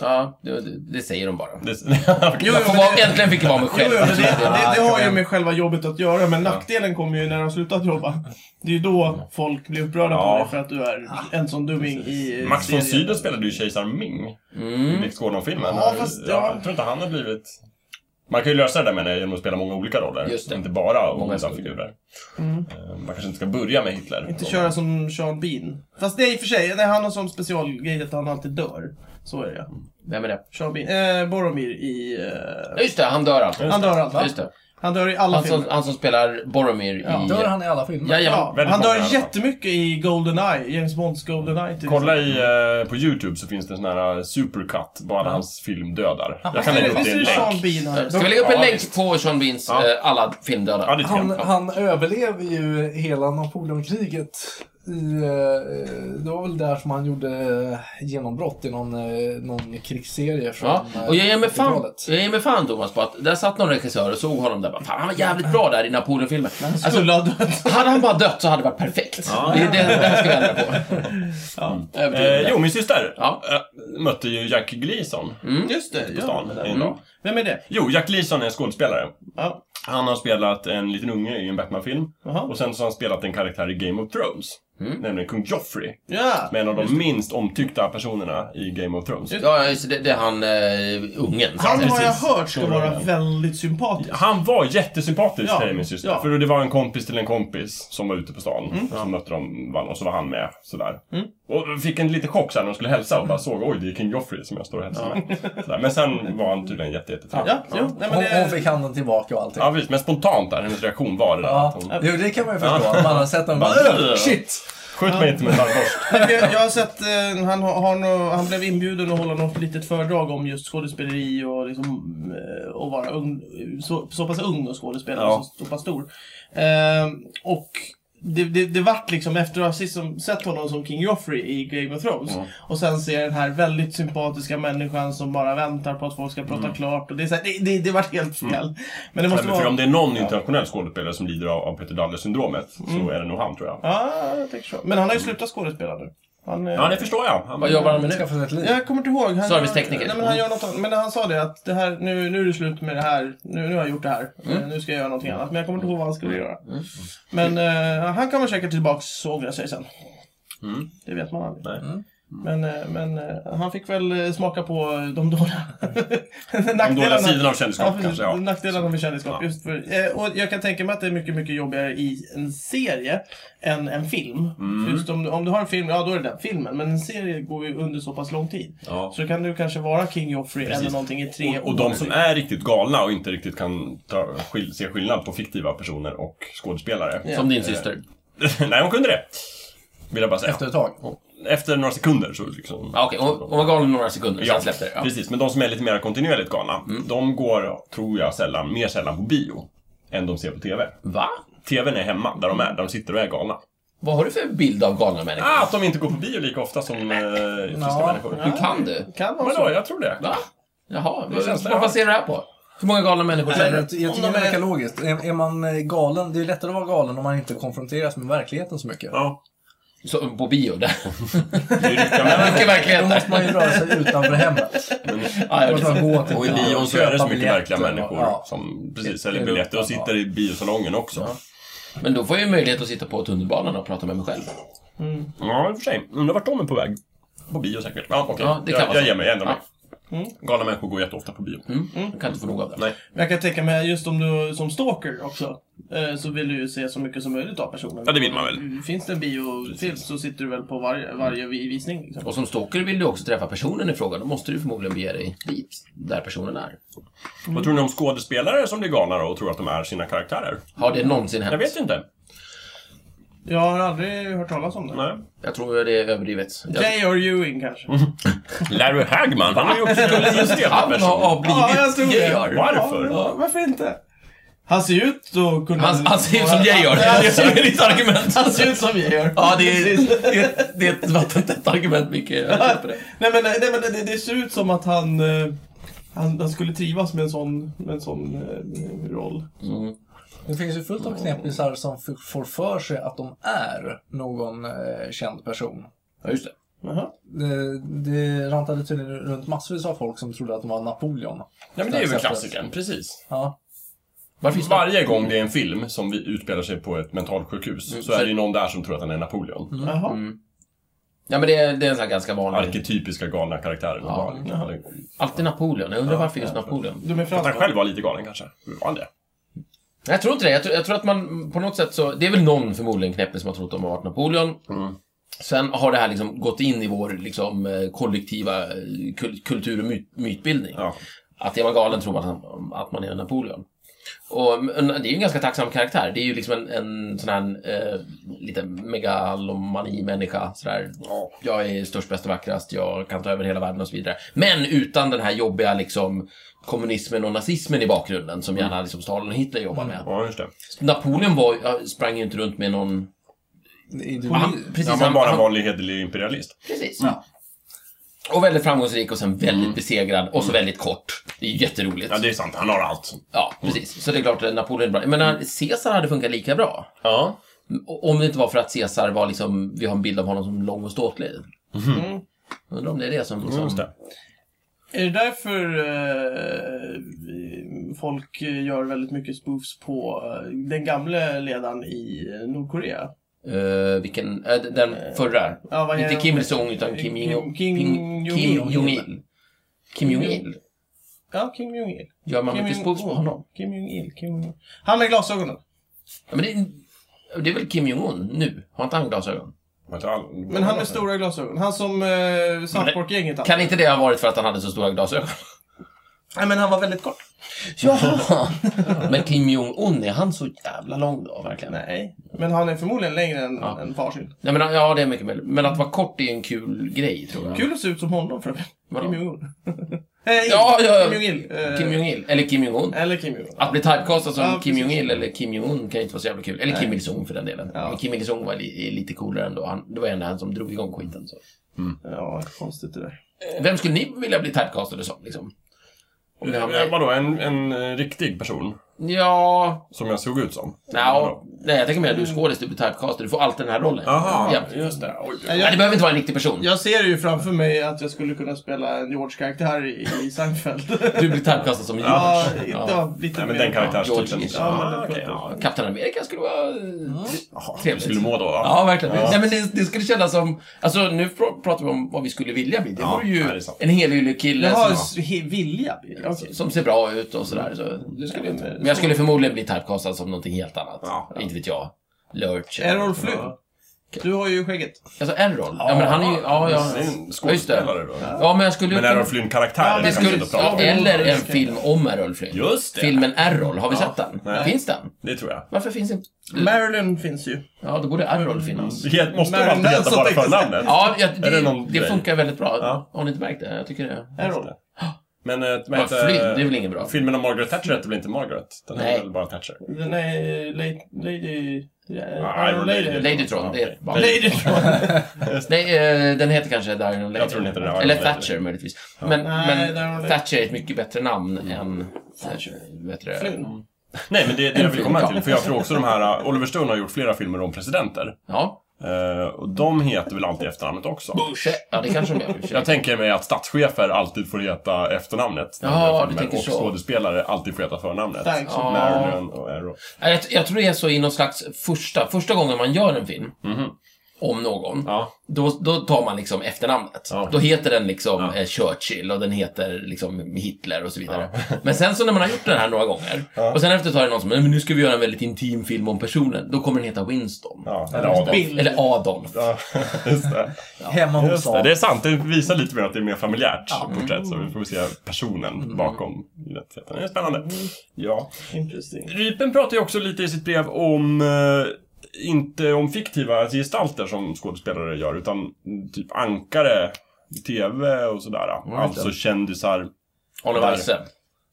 A: Ja, det, det, det säger de bara.
D: Det,
C: Mm. Jo,
A: Jag
C: jo,
A: får
C: men
A: vara,
C: det,
A: äntligen fick jag vara mig
C: jo,
A: själv.
C: jo, men det, det, det har ju
E: igen.
C: med själva jobbet att göra, men nackdelen kommer ju när de har slutat jobba. Det är ju då folk blir upprörda på
D: Ja.
C: dig för att du är en sån dumming i...
D: Max von
C: serien.
D: Sydow spelade ju kejsar Ming
A: Mm.
D: i Lex Gordon-filmen.
C: Mm. Ja, fast- ja.
D: Jag tror inte han har blivit... Man kan ju lösa det där menar jag genom att spela många olika roller.
A: Just det.
D: Inte bara
A: Många
D: onda
A: skurkar.
D: figurer. Eh, Man kanske inte ska börja med Hitler.
C: Mm.
D: Mm.
C: Inte köra som Sean Bean. Fast det är i och för sig, nej, han har som specialgrej att han alltid dör. Så är det ja.
A: Vem är det?
C: Sean Bean. Eh, Boromir i...
A: Ja,
C: Eh,
A: just det, han dör alltså.
C: han dör allt va?
A: Just det.
C: Han dör i alla
A: Han som,
C: filmer.
A: han som spelar Boromir
C: Ja.
A: i...
E: Dör han i alla filmer?
A: Ja, ja.
C: Ja,
D: väldigt
C: han
D: många i alla
C: dör
D: fall.
C: jättemycket i Goldeneye, James Bonds Goldeneye typ. till
D: Kolla i, eh, på YouTube så finns det en sån här eh, supercut på alla hans filmdödar. Jag kan lägga upp det
C: Visst
D: i en
C: är det Sean
D: länk.
C: Bean här?
A: Ska vi lägga upp en
D: Ja,
A: länk
D: visst.
A: på Sean Beans
D: Ja.
A: eh, alla
D: Ja,
A: filmdöda?
D: det tycker
E: Han,
D: jag.
E: han överlever ju hela Napoleonkriget eh, det var väl där som han gjorde eh, genombrott i någon, eh, någon krigsserie från
A: Ja, och jag ger,
E: eh,
A: mig fan,
E: 80-talet.
A: jag ger mig fan Thomas på att där satt någon regissör och såg honom där bara, fan han var jävligt bra där i Napoleon-filmen. Alltså,
C: Skulle ha dött.
A: hade han bara dött så hade det varit perfekt. Det är det, det här ska jag ändra på. Övertygad om
D: Eh,
A: det.
D: jo, min syster
A: Ja.
D: eh, mötte ju Jack Gleason
C: Just det.
D: på
C: Ja,
D: stan
C: det
D: en
C: där.
D: dag.
C: Vem är det?
D: Jo, Jack Gleason är en skådespelare.
C: Ja.
D: Han har spelat en liten unge i en Batman-film.
C: Jaha.
D: Och sen så har han spelat en karaktär i Game of Thrones. Nämligen kung Joffrey.
C: Ja.
D: Som är en av de minst omtyckta personerna i Game of Thrones.
A: Ja, just det, det är han eh, ungen. så att
C: Han
A: säga.
C: har jag
D: precis.
C: hört ska
D: Stora
C: vara
D: världen.
C: väldigt sympatisk.
D: Han var jättesympatisk,
C: Ja,
D: säger min syster.
C: ja. Mm.
D: För det var en kompis till en kompis som var ute på stan. Som mötte dem, vann, och så var han med. Sådär. Och fick en liten chock sen när de skulle hälsa och bara såg oj, det är King Joffrey som jag står och hälsar med. Sådär. Men sen var han tydligen jätte, jättetrevlig.
C: Ja, jo, nej, men
E: Hon,
C: det
E: hon fick handen tillbaka och allting.
D: Ja, visst. Men spontant där, hennes reaktion var det där. att
E: Ja,
D: Hon,
E: jo, det kan man ju förstå. Man har sett den och bara "Åh, shit!
D: Skjut mig inte med en armborst.
C: Men Jag, jag har sett, eh, han, har, har nå- han blev inbjuden att hålla något litet föredrag om just skådespeleri och liksom, eh, att vara ung, så, så pass ung och skådespelare,
D: Ja.
C: och så, så pass stor. Eh, och det, det, det vart liksom, efter att ha sett, som, sett honom som King Joffrey i Game of Thrones, och sen ser den här väldigt sympatiska människan som bara väntar på att folk ska prata klart. Och det, är så här, det, det, det vart helt fel. Men det
D: Nej,
C: måste
D: men Mm. för
C: vara...
D: om det är någon internationell skådespelare som lider av, av Peter Dalle-syndromet
C: Mm.
D: så är det nog han, tror jag.
C: Ja, jag tänker så. Men han har ju slutat skådespela nu. Han, eh,
D: Ja, det förstår jag. Han,
A: Vad jobbar han med nu?
E: Skaffa sig ett liv.
C: Jag kommer inte ihåg. Han
A: Servicetekniker.
C: Nej, men han gör något annat. Men han sa det att det här, nu, nu är det slut med det här. Nu, nu har jag gjort det här.
D: Mm.
C: Eh, Nu ska jag göra någonting annat. Men jag kommer inte ihåg vad han skulle göra. Men eh, han kommer säkert tillbaks och ångra sig sen.
D: Mm.
C: Det vet man aldrig.
D: Nej.
C: Men, eh, men eh, han fick väl eh, smaka på de dåliga,
D: De dåliga
C: nackdelarna.
D: sidorna av kändisskap,
C: Ja, precis. Mm.
D: kanske. Ja.
C: Nackdelarna med kändisskap.
D: Ja.
C: Just för, eh, och jag kan tänka mig att det är mycket, mycket jobbigare i en serie än en film.
D: Mm.
C: För Just om, du- om du har en film, ja då är det den filmen. Men en serie går ju under så pass lång tid.
D: Ja.
C: Så kan du kanske vara King Joffrey eller någonting i tre
D: Och, och de som är riktigt galna och inte riktigt kan ta, skil, se skillnad på fiktiva personer och skådespelare.
C: Ja.
A: Som din syster.
D: Nej, hon kunde det. Vill jag bara säga.
E: Efter ett tag.
D: Efter några sekunder så liksom...
A: Ja, okej. Hon, hon var galen i några sekunder, sen
D: Ja,
A: släppte det. Ja. Mm.
D: precis. Men de som är lite mer kontinuerligt galna, de går, tror jag, sällan, mer sällan på bio än de ser på TV.
A: Va?
D: TVn är hemma, där de är, där de sitter och är galna.
A: Vad har du för bild av galna människor?
D: Ah, att de inte går på bio lika ofta som eh, friska
E: Ja.
D: människor.
A: Hur kan du?
C: Kan vara
D: Vadå,
C: så.
D: jag tror det.
A: Va? Jaha, vad,
D: känns Ah. det.
A: vad baserar du det här på? Hur många galna människor
E: Jag,
A: känner
E: jag
A: du?
E: tycker det
C: de är-
E: verkar logiskt. Är, är man eh, galen, det är lättare att vara galen om man inte konfronteras med verkligheten så mycket.
D: Ja.
A: Så, på bio? Där.
D: Det är ju riktiga människor.
A: Mycket
E: Då
A: verklighet. Ah,
E: måste man ju röra sig utanför hemmet.
A: Ja, jag
E: Då måste
A: vet.
E: man gå till
D: Och i bion så är det
E: köpa
D: så mycket
E: biljetter
D: verkliga
E: och-
D: människor
E: ja.
D: som precis säljer
E: Det är
D: biljetter och
E: lugnt,
D: sitter i biosalongen också.
A: Men då får jag ju möjlighet att sitta på tunnelbanan och prata med mig själv.
D: Ja, i och för sig. Undrar vart de är på väg. På bio säkert. Ja, okej.
A: Ja, det kan
D: jag,
A: vara
D: jag
A: så.
D: ger mig. Jag ändrar
A: Ja.
D: mig. Galna människor går jätteofta på bio.
A: Mm? Jag kan inte få nog av det.
D: Nej.
C: Men Jag kan tänka mig just om du som stalker också. eh, Så vill du ju se så mycket som möjligt av personen. Mm.
D: Ja, det vill man väl.
C: Finns det en biofilm så sitter du väl på varje, varje vi- visning. Liksom.
A: Och som stalker vill du också träffa personen i fråga. Då måste du förmodligen bege dig dit, där personen är.
D: Vad tror ni om skådespelare som blir galna då och tror att de är sina karaktärer?
A: Har det någonsin hänt?
D: Jag vet inte.
C: Jag har aldrig hört talas om det.
D: Nej.
A: Jag tror det är överdrivet. Jag,
C: J.R. Ewing kanske.
D: Larry Hagman, han är ju också en liten stel
A: han har
D: person.
A: har blivit
C: Ja, jag tror det.
A: gayar.
D: Varför?
C: Ja, varför inte? Han ser ut att kunna...
A: Han, han ser ut som jag gör.
C: Ja,
A: Det är ditt argument.
C: Han ser ut som jag gör.
A: Ja, det är,
C: Precis.
A: det är, det är ett vattentätt argument, Micke. Jag köper det.
C: Nej men, nej, men det, det ser ut som att han, eh, han, han skulle trivas med en sån, med en sån eh, roll.
E: Det finns ju fullt av knäppisar som f- får för sig att de är någon eh, känd person.
A: Ja, just det.
C: Jaha.
E: Det, det rantade tydligen runt massvis av folk som trodde att de var Napoleon.
D: Ja, men det är ju klassikern. Precis.
E: Ja.
A: Var finns det?
D: Varje gång det är en film som vi utspelar sig på ett mentalsjukhus så är det ju någon där som tror att han är Napoleon.
A: Mm.
C: Jaha.
A: Ja, men det är, det är en sån här ganska vanlig.
D: Arketypiska galna karaktärer. Eller-
A: Alltid Napoleon. Jag undrar varför just Napoleon.
C: De är
D: Att han
C: franska.
D: själv var lite galen kanske. Var han det?
A: Jag tror inte det. Jag tror, jag tror att man på något sätt så... Det är väl någon förmodligen knäppe som har trott att de har varit Napoleon. Sen har det här liksom gått in i vår liksom, eh, kollektiva eh, kul- kultur och myt, mytbildning.
D: Ja.
A: Att är man galen tror man att- att man är Napoleon. Och, men det är ju en ganska tacksam karaktär. Det är ju liksom en, en sån här eh, lite megalomani-människa. Sådär. Jag är störst, bäst och vackrast, jag kan ta över hela världen och så vidare. Men utan den här jobbiga liksom, kommunismen och nazismen i bakgrunden som gärna liksom, Stalin och Hitler jobbar med.
D: Ja, just det.
A: Napoleon var, ju- sprang ju inte runt med någon
E: Är du,
A: Han, precis,
D: Ja,
A: han,
D: man bara
A: han,
D: vanlig hederlig imperialist.
A: precis.
E: Ja.
A: Och väldigt framgångsrik och sen väldigt besegrad och så väldigt kort. Det är ju jätteroligt.
D: Mm. Ja, det är sant. Han har allt.
A: Ja, precis. Så det är klart att Napoleon är bra. Men han- Caesar hade funkat lika bra.
D: Ja.
A: Om det inte var för att Caesar var liksom, vi har en bild av honom som lång och ståtlig.
C: Mm.
A: Undrar om det är det som... liksom- som...
D: Mhm. Mm, Just det.
C: Är det därför eh, vi- folk gör väldigt mycket spoofs på eh, den gamle ledaren i Nordkorea?
A: Eh, vilken? eh, den förra.
C: Ja, vad
A: Inte
C: heter-
A: Kim Il-Sung utan Kim Jong-
C: Kim-
A: Ping- Kim
C: Kim
A: Jong-Il. Kim Jong-Il?
C: Ja, Kim Jong-Il.
A: Gör man
C: Kim
A: mycket spoofs på
C: Jong-un.
A: honom?
C: Kim Jong-Il. Kim Jong-il. Han med glasögonen.
A: Ja, men det, det är väl Kim Jong-Un nu? Har inte han glasögon?
D: Men inte all-
C: Men han med stora glasögon. Han som eh, Saltbork-gänget hade.
A: Kan inte det ha varit för att han hade så stora glasögon?
C: Nej, men han var väldigt kort.
A: Jaha! men Kim Jong-Un, är han så jävla lång då verkligen?
C: Nej, men han är förmodligen längre än,
A: Ja.
C: än farsin.
A: Nej, men, ja, det är mycket möjligt. Men att vara kort är ju en kul grej, tror jag.
C: Kul att se ut som honom för övrigt.
A: Vadå?
C: Kim Jong-Un. Eh, Il.
A: Ja, ja, ja.
C: Kim Jong-Il. Eh,
A: Kim Jong-Il, eller Kim Jong-Un.
C: Eller Kim Jong-Un.
A: Att bli typecastad som Kim
C: Ja, precis.
A: Jong-Il eller Kim Jong-Un kan ju inte vara så jävla kul. Eller Kim Il-Sung för den delen.
C: Ja.
A: Men Kim Il-Sung var li, lite coolare ändå. Han, det var ändå han som drog igång skiten. Så.
C: Ja, konstigt det där.
A: Vem skulle ni vilja bli typecastade som? Liksom? Om ni hamnar
D: Eh,
A: i-
D: Vadå, en, en eh, riktig person?
A: Ja,
D: Som jag såg ut som?
A: no, nej, jag tänker mer att du är skådis, du blir typecastad, du får alltid den här rollen.
D: Jaha,
A: ja.
D: just det. Oj,
C: Nej,
A: Nej, det
C: jag,
A: behöver inte vara en riktig person.
C: jag ser ju framför mig att jag skulle kunna spela en George-karaktär i, i Seinfeld.
A: Du blir typecastad som George.
C: ja,
A: Ja.
C: ja, lite
D: Nej, men
C: mer.
D: den karaktärstypen.
A: George.
D: Ja,
C: Ja,
D: okej, ja.
A: Kapten Amerika skulle vara eh,
D: Jag
A: trevligt.
D: skulle må då.
A: Ja, verkligen. Nej, men det, det skulle kännas som... Alltså, nu pr- pratar vi om vad vi skulle vilja bli. Det
D: Ja,
A: vore ju
D: nej, det är sant.
A: en helylle kille
C: Jaha,
A: som,
C: s- he- vilja. alltså. Okej.
A: som ser bra ut och sådär. Så.
C: Det skulle inte...
A: Men jag skulle förmodligen bli typecastad som någonting helt annat.
D: Ja.
A: Inte vet jag. Lurch. eller-
C: Errol Flynn. Du har ju skägget.
A: Alltså, Errol? Ja, men han är ju... Ja, ja.
D: Det är en
A: Ja, just det.
D: skådespelare då.
A: Ja, men jag skulle...
D: Men Errol Flynn-karaktären
C: Ja,
A: det
C: men
D: kan vi
A: skulle,
D: inte prata om.
A: ja, eller en film om Errol Flynn.
D: Just det.
A: Filmen Errol, har vi sett den?
D: Nej.
A: Finns den?
D: Det tror jag.
A: Varför finns inte...
C: Marilyn finns ju.
A: Ja, då borde Errol finnas.
D: Det måste
C: Men
D: man alltid heta
C: Nelson
D: bara
C: tänkte
D: förnamnet.
A: Ja, jag, det,
D: Mm. Är det
A: det,
D: någon grej?
A: funkar väldigt bra.
D: Ja.
A: Har ni inte märkt det? Jag tycker det.
C: Errol.
D: Men eh, vad
A: Ja,
D: heter...
A: Flynn, det är väl inget bra?
D: Filmen om Margaret Thatcher heter väl inte Margaret? Den
A: Nej.
D: är väl bara Thatcher?
C: Den är Lady... Lady...
A: Eh,
D: Ja, Iron Ah, Lady. Ah,
A: Ladytron, det är ett barn.
C: Lady Tron.
A: Nej, eh, den heter kanske The Iron Lady.
D: Jag tror den heter The Iron
A: Eller
D: Lady.
A: Thatcher möjligtvis. Men,
C: Nej,
A: men
C: The Iron Lady.
A: Thatcher är ett mycket bättre namn
D: Mm.
A: än... Thatcher. Vet du det?
C: Flynn.
D: Nej, men det är det jag vill komma
A: Ja.
D: till. För jag tror också de här... eh, Oliver Stone har gjort flera filmer om presidenter.
A: Ja.
D: Eh, och de heter väl alltid efternamnet också?
C: Oh,
A: ja, det kanske de gör i och för sig.
D: Jag tänker mig att statschefer alltid får heta efternamnet.
A: Jaha,
D: Men-
A: du tänker
D: och
A: så.
D: skådespelare alltid får heta förnamnet.
C: Thanks.
A: Ja.
D: Marilyn och Errol.
A: Nej, Jag, jag tror det är så i någon slags första, första gången man gör en film om någon,
D: Mhm. Ja.
A: då, då tar man liksom efternamnet.
D: Ja.
A: Då heter den liksom eh, Churchill och den heter liksom Hitler och så vidare. Men sen så när man har gjort den här några gånger, och sen efter tar det någon som "Nej, men nu ska vi göra en väldigt intim film om personen, då kommer den heta Winston.
D: Ja, eller Adolf.
C: Bill.
A: Eller Adolf.
D: Ja, just det.
E: Hemma hos
D: Just det. Det
E: Saab.
D: är sant, det visar lite mer att det är mer familjärt porträtt. Så vi får se personen bakom identiteten. Det är spännande. Ja.
C: Interesting.
D: Rypen pratar ju också lite i sitt brev om eh, inte om fiktiva gestalter som skådespelare gör, utan typ ankare, TV och sådär. Alltså kändisar
A: Arne
D: Där.
A: Weise.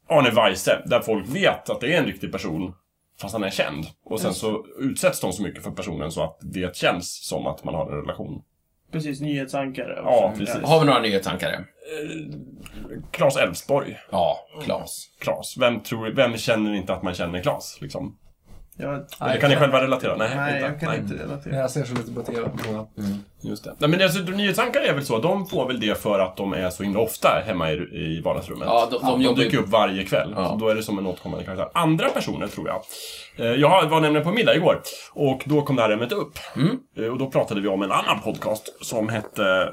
D: Arne Weise, där folk vet att det är en riktig person fast han är känd. Och sen så utsätts de så mycket för personen så att det känns som att man har en relation.
C: Precis, nyhetsankare. och
D: Ja,
C: så vidare.
D: precis.
A: Har vi några nyhetstankare?
D: Claes Elfsborg.
A: Ja, Claes.
D: Claes. Vem, tror, vem känner inte att man känner Claes? Liksom?
C: Jag,
D: Eller kan ni själva relatera? Nej,
C: nej,
D: inte.
C: jag kan
D: nej.
C: inte relatera.
E: Jag ser så lite på TV.
D: Just det. Nej, men alltså, nyhetsankare är väl så. De får väl det för att de är så himla ofta hemma i, i vardagsrummet.
A: Ja, de- de jobbar ju-
D: dyker upp varje kväll.
A: Ja.
D: Så då är det som en återkommande karaktär. Andra personer, tror jag. Eh, Jag var nämligen på middag igår och då kom det här ämnet upp.
A: Mm.
D: Eh, Och då pratade vi om en annan podcast som hette...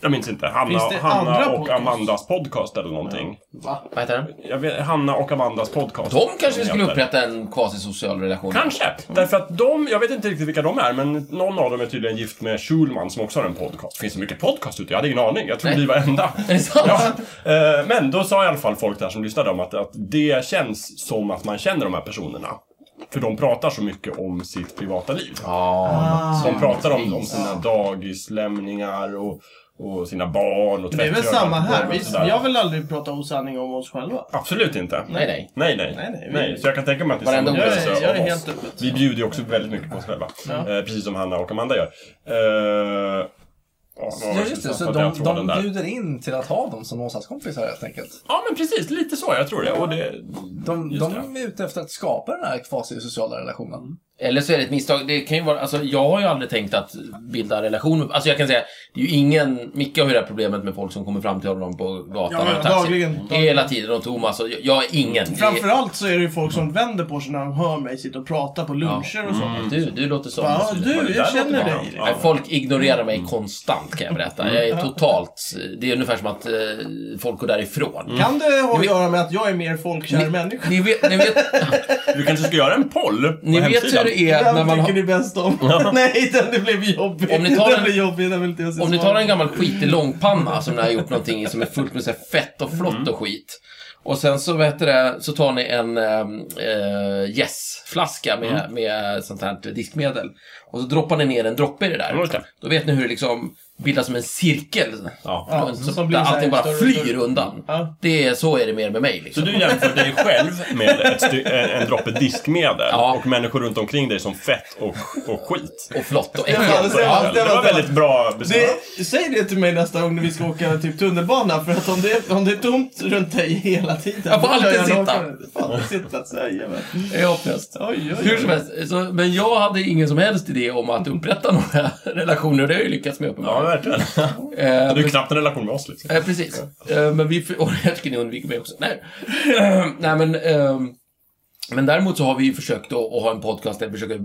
D: Jag minns inte. Hanna,
C: Finns det
D: Hanna
C: andra
D: och
C: podcast?
D: Amandas podcast eller någonting.
A: Vad heter den?
D: Jag vet, Hanna och Amandas podcast.
A: De kanske
D: som
A: skulle
D: heter.
A: upprätta en kvasisocial relation.
D: Kanske!
C: Mm.
D: Därför att de, jag vet inte riktigt vilka de är, men någon av dem är tydligen gift med Schulman som också har en podcast. Finns det mycket podcast ute? Jag hade ingen aning. Jag trodde
A: Nej.
D: vi var enda.
A: Är det sant?
D: Ja. Eh, Men då sa i alla fall folk där som lyssnade om att, att det känns som att man känner de här personerna. För de pratar så mycket om sitt privata liv.
A: Ja,
D: De pratar om, om sina dagislämningar och och sina barn och
C: Men det är väl
D: tvättgöromål
C: samma här.
D: och
C: Vi,
D: sådär.
C: vi har väl aldrig pratat osanning om oss själva?
D: Absolut inte.
A: Nej, nej.
D: Nej, nej.
C: Nej, nej, vi-
D: Så jag kan tänka mig att det är
A: Varenda
D: samma
A: ord.
C: Jag
D: upplevelse
C: är, jag är
D: av oss.
C: helt öppet.
D: Vi bjuder ju också väldigt mycket på oss själva.
C: Ja.
D: Eh, precis som Hanna och Amanda gör. Eh, ja, vad var
E: Ja,
D: jag
E: just
D: skulle säga?
E: det. Så
D: Tappade
E: de,
D: jag tråden
E: de
D: där.
E: bjuder in till att ha dem som låtsaskompisar helt enkelt.
D: Ja, men precis. Lite så, jag tror det. Och det...
E: De,
D: Just
E: de är ute efter att skapa den här kvasi-sociala relationen.
A: Eller så är det ett misstag. Det kan ju vara, alltså, jag har ju aldrig tänkt att bilda relation med... Alltså jag kan säga, det är ju ingen... Micke har ju det här problemet med folk som kommer fram till honom på gatan
C: Ja, ja,
A: och taxi.
C: dagligen.
A: Hela tiden. Och Thomas och jag, jag är ingen. Det är-
C: Framförallt så är det ju folk som vänder på sig när de hör mig sitta och prata på luncher och sånt.
A: Du, du låter som...
C: Ja,
D: var det
C: du,
D: där
C: jag känner
D: låter bra.
C: dig.
A: Nej, folk ignorerar mig konstant kan jag berätta. Jag är totalt... Det är ungefär som att eh, folk går därifrån.
C: Kan det ha att göra med att jag är mer folkkär människa?
A: Ni vet, ni vet,
D: Du kanske ska göra en poll på
A: ni vet hur
D: hemsidan.
A: det är när
C: Vem
A: man
C: tycker
A: har...
C: ni bäst om? Nej, den det blev jobbig.
A: Om ni tar
C: den
A: en-
C: blev jobbig, den vill inte jag se
A: Om ni
C: svaret
A: tar en gammal skitig långpanna som ni har gjort någonting i som är fullt med så här fett och flott
D: Mm.
A: och skit. Och sen så, vad heter det, så tar ni en gässflaska med,
D: Mm.
A: med sånt här diskmedel. Och så droppar ni ner en droppe i det där.
D: Ja, just det.
A: Då vet ni hur det liksom bildas som en cirkel.
D: Ja.
C: Ja,
A: så,
C: som blir
A: där
C: så här
A: allting bara
C: större och
A: flyr
C: större.
A: undan.
C: Ja.
A: Det är, så är det mer med mig. Liksom.
D: Så du jämför dig själv med ett sty- en, en droppe diskmedel
A: Ja.
D: och människor runt omkring dig som fett och, och skit.
A: och flott och
C: Ja, det
A: äckligt.
C: ser jag.
D: det var väldigt bra beskrivet.
C: Det, säg det till mig nästa gång när vi ska åka typ tunnelbana, för att om det, om det är tomt runt dig hela tiden...
A: Jag får alltid
C: då gör jag
A: sitta.
C: något- får alltid sitta, säger jag.
A: Det är hopplöst.
C: Oj, oj,
A: Hur som
C: oj.
A: helst, så, men jag hade ingen som helst idé om att upprätta några relationer. Det har jag ju lyckats med
D: Ja,
A: uppenbarligen.
D: verkligen.
A: Eh,
D: Du är
A: men-
D: knappt en relation med oss liksom.
A: eh, precis. Eh, men vi... Och jag tycker ni undviker mig också. Nej, Nej men... ehm, men däremot så har vi ju försökt att, att ha en podcast där vi försöker eh,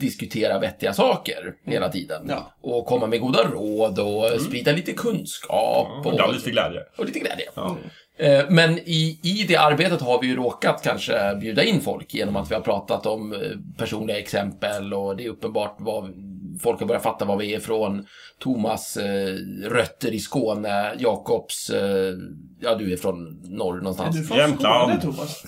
A: diskutera vettiga saker hela tiden.
C: Ja.
A: Och komma med goda råd och sprida lite kunskap.
D: Och lite för glädje.
A: och lite glädje.
D: Ja.
A: Eh, Men i, i det arbetet har vi ju råkat kanske bjuda in folk genom att vi har pratat om eh, personliga exempel och det är uppenbart vad folk har börjat fatta var vi är ifrån. Thomas eh, rötter i Skåne, Jakobs, eh, ja du är från norr
C: Är
A: någonstans.
C: du från
D: Jämtland.
C: Skåne, Thomas?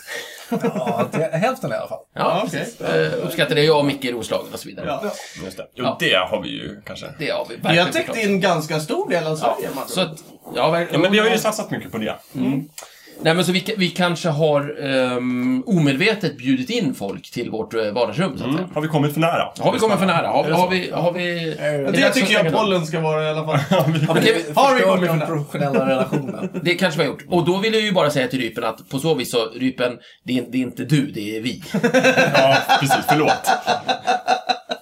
E: Ja, det, hälften i alla fall.
A: Ja,
C: Ja, okej.
A: precis. Eh, uppskattar det. Jag och Micke i Roslagen och så vidare.
C: Ja.
D: Just det. Jo,
A: Ja.
D: det har vi ju kanske.
A: Det har vi verkligen
C: Jag täckte
A: förstått.
C: in ganska stor del av Sverige, man.
A: Så att, ja,
D: Ja,
A: verkligen.
D: men vi har ju satsat mycket på det. Mm.
A: Nej, men så vi, ka- vi kanske har ehm, omedvetet bjudit in folk till vårt eh, vardagsrum, så att säga.
D: Har vi kommit för nära?
A: Har vi kommit för nära? Har,
D: Är det så?
A: har vi... Har vi är
C: Det
A: dags att
C: tycker
A: stänga
C: jag
A: dörren?
C: pollen ska vara i alla fall.
E: Ja, men
A: det
E: det
C: har vi
E: förstör
C: kommit
E: den
C: för-
E: professionella relationen.
A: Det kanske vi har gjort. Och då vill jag ju bara säga till Rypen att på så vis så, Rypen, det är, det är inte du, det är vi.
D: Ja, precis. Förlåt.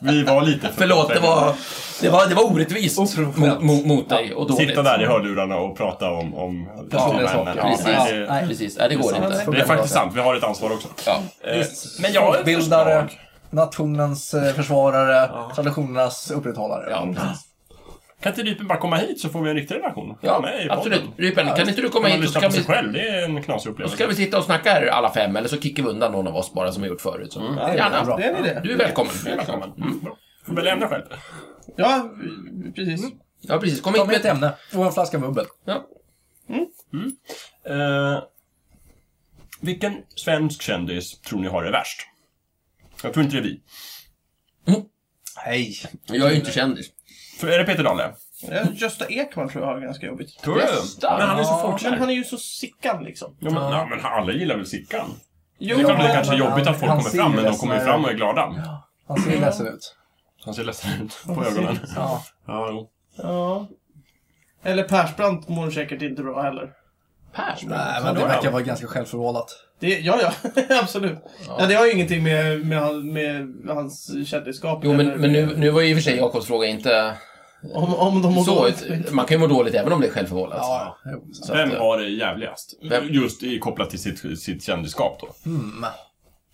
D: Vi var lite för
A: Förlåt, det var, det var, det var orättvist
E: Oprofessionellt.
A: mot, mot, mot dig och dåligt.
D: Sitta där i hörlurarna och prata om... om
E: Personliga
D: om-
E: saker.
D: Ja,
A: Precis,
D: nej, det-
A: nej, precis. Nej, det går inte.
D: Det är faktiskt sant. Vi har ett ansvar också.
A: Ja.
D: Eh,
E: Visst.
D: Men jag har ett
E: Folkbildare,
D: förslag.
E: nationens eh, försvarare, traditionernas upprätthållare. Ja, precis.
D: Kan inte Rypen bara komma hit så får vi en riktig relation?
A: Ja,
D: med i podden.
A: absolut. Rypen, kan inte du komma
D: Kan man
A: hit och så
D: lyssna på
A: kan
D: sig
A: vi,
D: själv? Det är en knasig
A: så kan
D: upplevelse.
A: vi sitta och snacka här alla fem, eller så kickar vi undan någon av oss bara som vi gjort förut. Så.
D: Mm.
A: Gärna.
C: Det är en idé.
A: Du är välkommen.
D: Välkommen.
A: Mm.
D: Bra. Får väl lämna själv.
C: Ja, precis.
A: Ja, precis. Kom
E: Ta
A: hit
E: med ett
A: med...
E: ämne och en flaska bubbel.
A: Ja.
D: Eh, vilken svensk kändis tror ni har det värst? Jag tror inte det är vi.
E: Nej.
A: Jag är ju inte kändis.
D: För är det Peter Dahle?
C: Ja, Gösta Ekman tror jag har ganska jobbigt.
D: Tror du?
A: Bästa.
D: Men han är så
C: Men
D: folkkär.
C: han är ju så sickan liksom.
D: Ja, men, ja, men alla gillar väl Sickan?
C: Jo,
D: Det är klart att det
E: men
D: kanske är
E: han-
D: jobbigt att folk
E: han
D: kommer
E: ser
D: fram,
E: ju
D: men de
E: ledsen
D: kommer ju
E: ut.
D: fram och är glada.
E: Han ser ledsen ut.
D: Han ser ledsen ut på ögonen.
E: Ja.
D: Ja, jo.
C: ja. Eller Persbrandt mår säkert inte bra heller.
A: Persbrandt?
E: Nej, men det verkar vara ganska självförvållat.
C: Det, ja, ja, absolut. Ja. det har ju ingenting med, med, han- med hans kändisskap
A: Jo, men,
C: eller-
A: men nu, nu var ju i och för sig Jakobs fråga inte
C: Om, om de mår
A: så.
C: dåligt.
A: ut- Man kan ju må dåligt även om det är självförvållat.
E: Ja, jo, så.
D: Vem har det jävligast?
A: Vem?
D: Just i, kopplat till sitt, sitt kändisskap då.
E: Mm.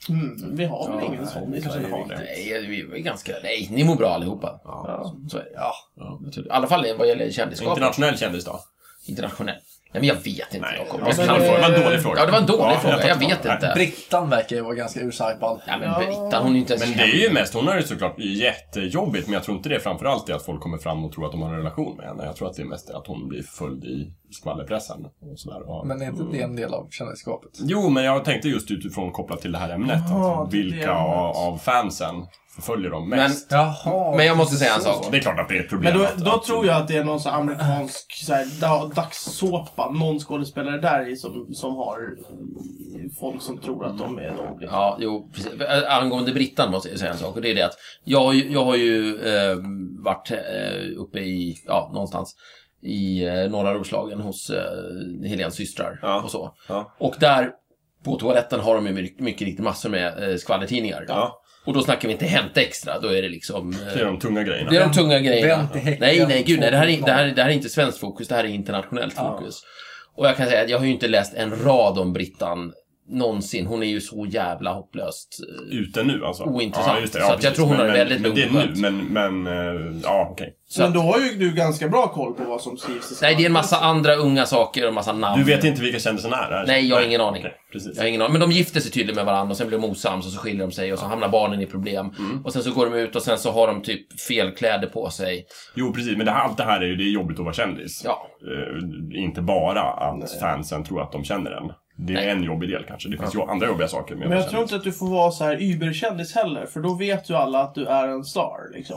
C: Mm, vi har väl ingen sån i
D: Kanske
C: Sverige.
D: har det.
A: Nej, vi är ganska... Nej, ni mår bra allihopa.
C: Ja.
A: Så är det.
E: Ja.
A: I alla fall vad gäller kändisskap.
D: Internationell kändis då?
A: Internationell. Nej, men jag vet inte,
D: Nej,
A: Jakob.
D: ja,
A: Jag
D: det
A: kan
C: men-
A: inte.
D: var en dålig fråga.
A: Ja, det var en dålig
D: Ja,
A: fråga.
D: tar
A: Jag
D: tillbaka
A: vet
D: det.
A: inte.
E: Brittan verkar ju vara ganska ursäktad.
A: Nej, men Brita, hon är ju inte ens
D: Men det är ju mest, hon har det såklart jättejobbigt, men jag tror inte det framförallt är att folk kommer fram och tror att de har en relation med henne. Jag tror att det är mest att hon blir förföljd i skvallerpressen och sådär. Och,
E: Men är inte det en del av kändisskapet?
D: Jo, men jag tänkte just utifrån kopplat till det här ämnet.
C: Jaha,
D: alltså,
C: det är det
D: vilka
C: ämnet.
D: av, av fansen förföljer de
A: Men,
D: mest? Alltså,
E: Jaha.
A: men jag måste säga en sak.
D: det är klart att det är ett problem.
C: Men då,
D: att-
C: då
D: att-
C: tror jag att det är någon sån här amerikansk
A: Ah.
C: så här, da- dagssåpa, någon skådespelare där i som, som har eh, folk som tror att de är de. liksom.
A: Ja, jo, precis. Ä- Angående Brittan måste jag säga en sak. Och det är det att jag, har ju- jag har ju eh, varit eh, uppe i, ja, någonstans i eh, norra Roslagen hos eh, Helens systrar
D: Ja.
A: och så.
D: Ja.
A: Och där på toaletten har de ju mycket, mycket riktigt massor med eh, skvallertidningar.
D: Ja.
A: Och då snackar vi inte Hänt Extra, då är det liksom... eh,
D: Det är de tunga grejerna.
A: det är de tunga grejerna.
E: vänt i häcken.
A: Nej, nej, gud, nej, det, här är, det, här, är- det här är inte svenskt fokus, det här är internationellt fokus. Och jag kan säga att jag har ju inte läst en rad om Brittan någonsin. Hon är ju så jävla hopplöst. eh,
D: Ute nu alltså?
A: Ointressant.
D: just det.
A: Så att jag
D: precis.
A: tror hon
D: Men-
A: har det väldigt
D: men, men det är
A: lugnt.
D: nu, men, men eh, ja, okej.
A: Så
C: Men
A: att,
C: då har ju du ganska bra koll på vad som skrivs i
A: nej, det är en massa andra unga saker och en massa namn.
D: Du vet inte vilka kändisarna är? Här.
A: Nej, jag har ingen aning.
D: okej, precis.
A: Jag har ingen aning. Men de gifter sig tydligen med varandra och sen blir de osams och så skiljer de sig och så hamnar barnen i problem. Och sen så går de ut och sen så har de typ fel kläder på sig.
D: Jo, precis. Men det här, allt det här är ju det är jobbigt att vara kändis.
A: Ja.
D: Eh, inte bara att fansen tror att de känner en. Det är
A: Nej.
D: en jobbig del kanske. Det finns ju andra jobbiga saker med
C: Men
D: att vara
C: jag tror
D: kändis.
C: inte att du får vara så här überkändis heller, för då vet ju alla att du är en star. Liksom.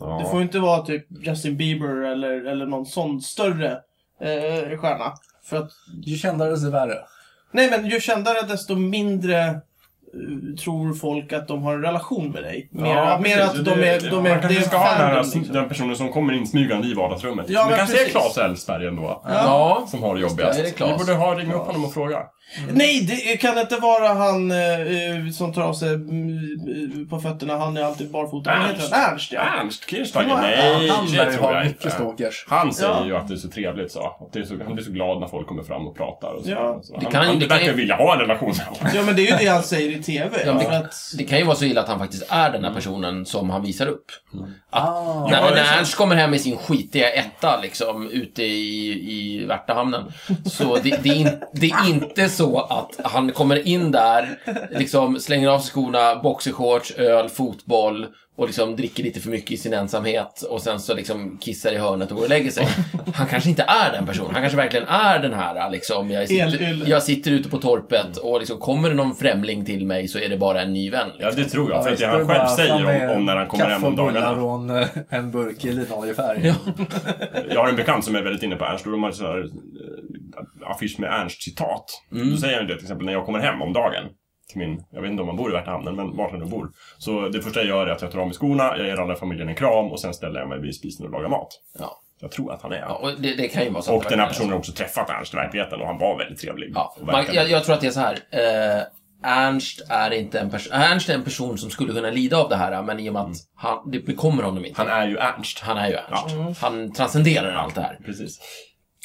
D: Ja.
C: Du får ju inte vara typ Justin Bieber eller, eller någon sån större eh, stjärna. För att,
E: Ju kändare desto värre.
C: nej men ju kändare desto mindre eh, tror folk att de har en relation med dig. Mer,
D: Ja,
C: mer
D: precis.
C: att de är... De är
D: man kanske
C: det är
D: ska ha den, här,
C: fanen, liksom.
D: den personen som kommer insmygande i vardagsrummet.
C: Ja,
D: det
C: men
D: kanske
C: precis.
D: är Claes Elfsberg ändå.
A: Ja.
D: Som har det
A: det,
D: jobbigast.
A: är det Claes.
D: Vi borde ha, ringa upp honom och fråga.
C: Nej, det kan inte vara han eh, eh, som tar av sig mm, på fötterna. Han är alltid barfota. Vad heter han? Ernst, ja.
D: Ernst Kirchsteiger?
C: Ja,
D: Nej,
E: han lär
D: det
E: ju
D: tror
E: ha
D: jag
E: mycket
D: inte.
E: stalkers.
D: Han säger
C: Ja.
D: ju att det är så trevligt så. Att det är så. Han blir så glad när folk kommer fram och pratar. Och så.
C: Ja.
D: Så
A: Det
D: han,
A: kan ju-
D: han
A: det kan
D: verkar
A: ju-
D: vilja ha en relation med alla.
C: Ja, men det är ju det han säger i TV.
A: Ja, men
C: för
A: det,
C: att,
A: det kan ju vara så illa att han faktiskt är den här personen som han visar upp. Att
E: Ah.
A: när,
D: Ja, det är
A: när Ernst kommer hem med sin skitiga etta liksom ute i, i Värtahamnen. Så det, det, är in, det är inte så att han kommer in där, liksom slänger av sig skorna, boxershorts, öl, fotboll och liksom dricker lite för mycket i sin ensamhet och sen så liksom kissar i hörnet och går och lägger sig. Han kanske inte är den personen. Han kanske verkligen är den här liksom, jag
C: Elylle.
A: sitter, jag sitter ute på torpet
D: Mm.
A: och liksom kommer det någon främling till mig så är det bara en ny vän.
D: Ja, det tror jag.
E: Ja,
D: För att
E: visst,
D: det
E: då är
D: han
E: det
D: själv
E: bara fram
D: säger
E: med
D: om, om när han kommer hem om
E: Kaffe och
D: dagarna.
E: bullar och en, eh, en burk i linoljefärg.
D: Eh, Jag har en bekant som är väldigt inne på Ernst. Då har man så här, eh, affisch med Ernst-citat.
A: Mm.
D: Då säger han ju det till exempel när jag kommer hem om dagen. Till min, jag vet inte om han bor i Värtahamnen, men vart han nu bor. Så det första jag gör är att jag tar av mig skorna, jag ger alla i familjen en kram och sen ställer jag mig vid spisen och lagar mat.
A: Ja.
D: Jag tror att han är
A: Ja, och det, det kan ju vara så. att
D: Och
A: det
D: den här
A: verkligen är så.
D: personen har också träffat Ernst i verkligheten och han var väldigt trevlig.
A: Ja,
D: Och
A: man,
D: verkade-
A: jag, jag tror att det är så här. Eh, Ernst är inte en person, Ernst är en person som skulle kunna lida av det här, men i och med att han, det bekommer honom inte.
D: Mm. Han är ju Ernst.
A: Han är ju Ernst.
E: Mm.
A: Han transcenderar allt det här.
D: Precis.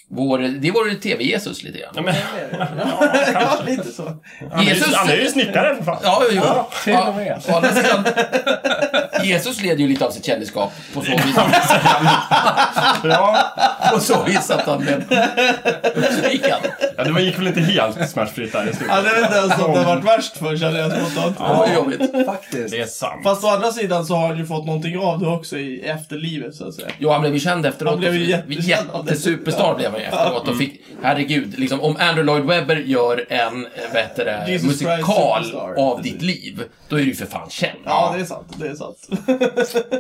A: Vår, det är vår TV-Jesus lite grann.
D: Ja, men,
C: ja, lite så.
D: han, är ju,
A: Jesus-
D: han är ju snickare för fan.
A: Ja, jo, jo.
E: till och med.
A: Ja, å andra sidan, Jesus leder ju lite av sitt kändisskap på så vis,
D: Ja.
A: på så vis att han blev uppstrykad.
D: Ja, det var- gick väl inte helt smärtfritt där i
C: Ja,
D: slutet.
C: det är inte ens att det har varit värst för känner jag spontant.
A: Det var ju jobbigt.
E: Faktiskt.
D: Det är sant.
C: Fast å andra sidan så har han ju fått någonting av det också i efterlivet så att säga.
A: Jo, han blev ju känd efteråt.
C: Han blev ju
A: och-
C: jättekänd av det.
A: Jättesuperstar blev han ju efteråt. Och fick, herregud, liksom, om Andrew Lloyd Webber gör en eh, vad heter det,
C: Jesus
A: musikal
C: Christ Superstar.
A: av ditt liv, då är du ju för fan känd.
C: Ja, det är sant. Det är sant.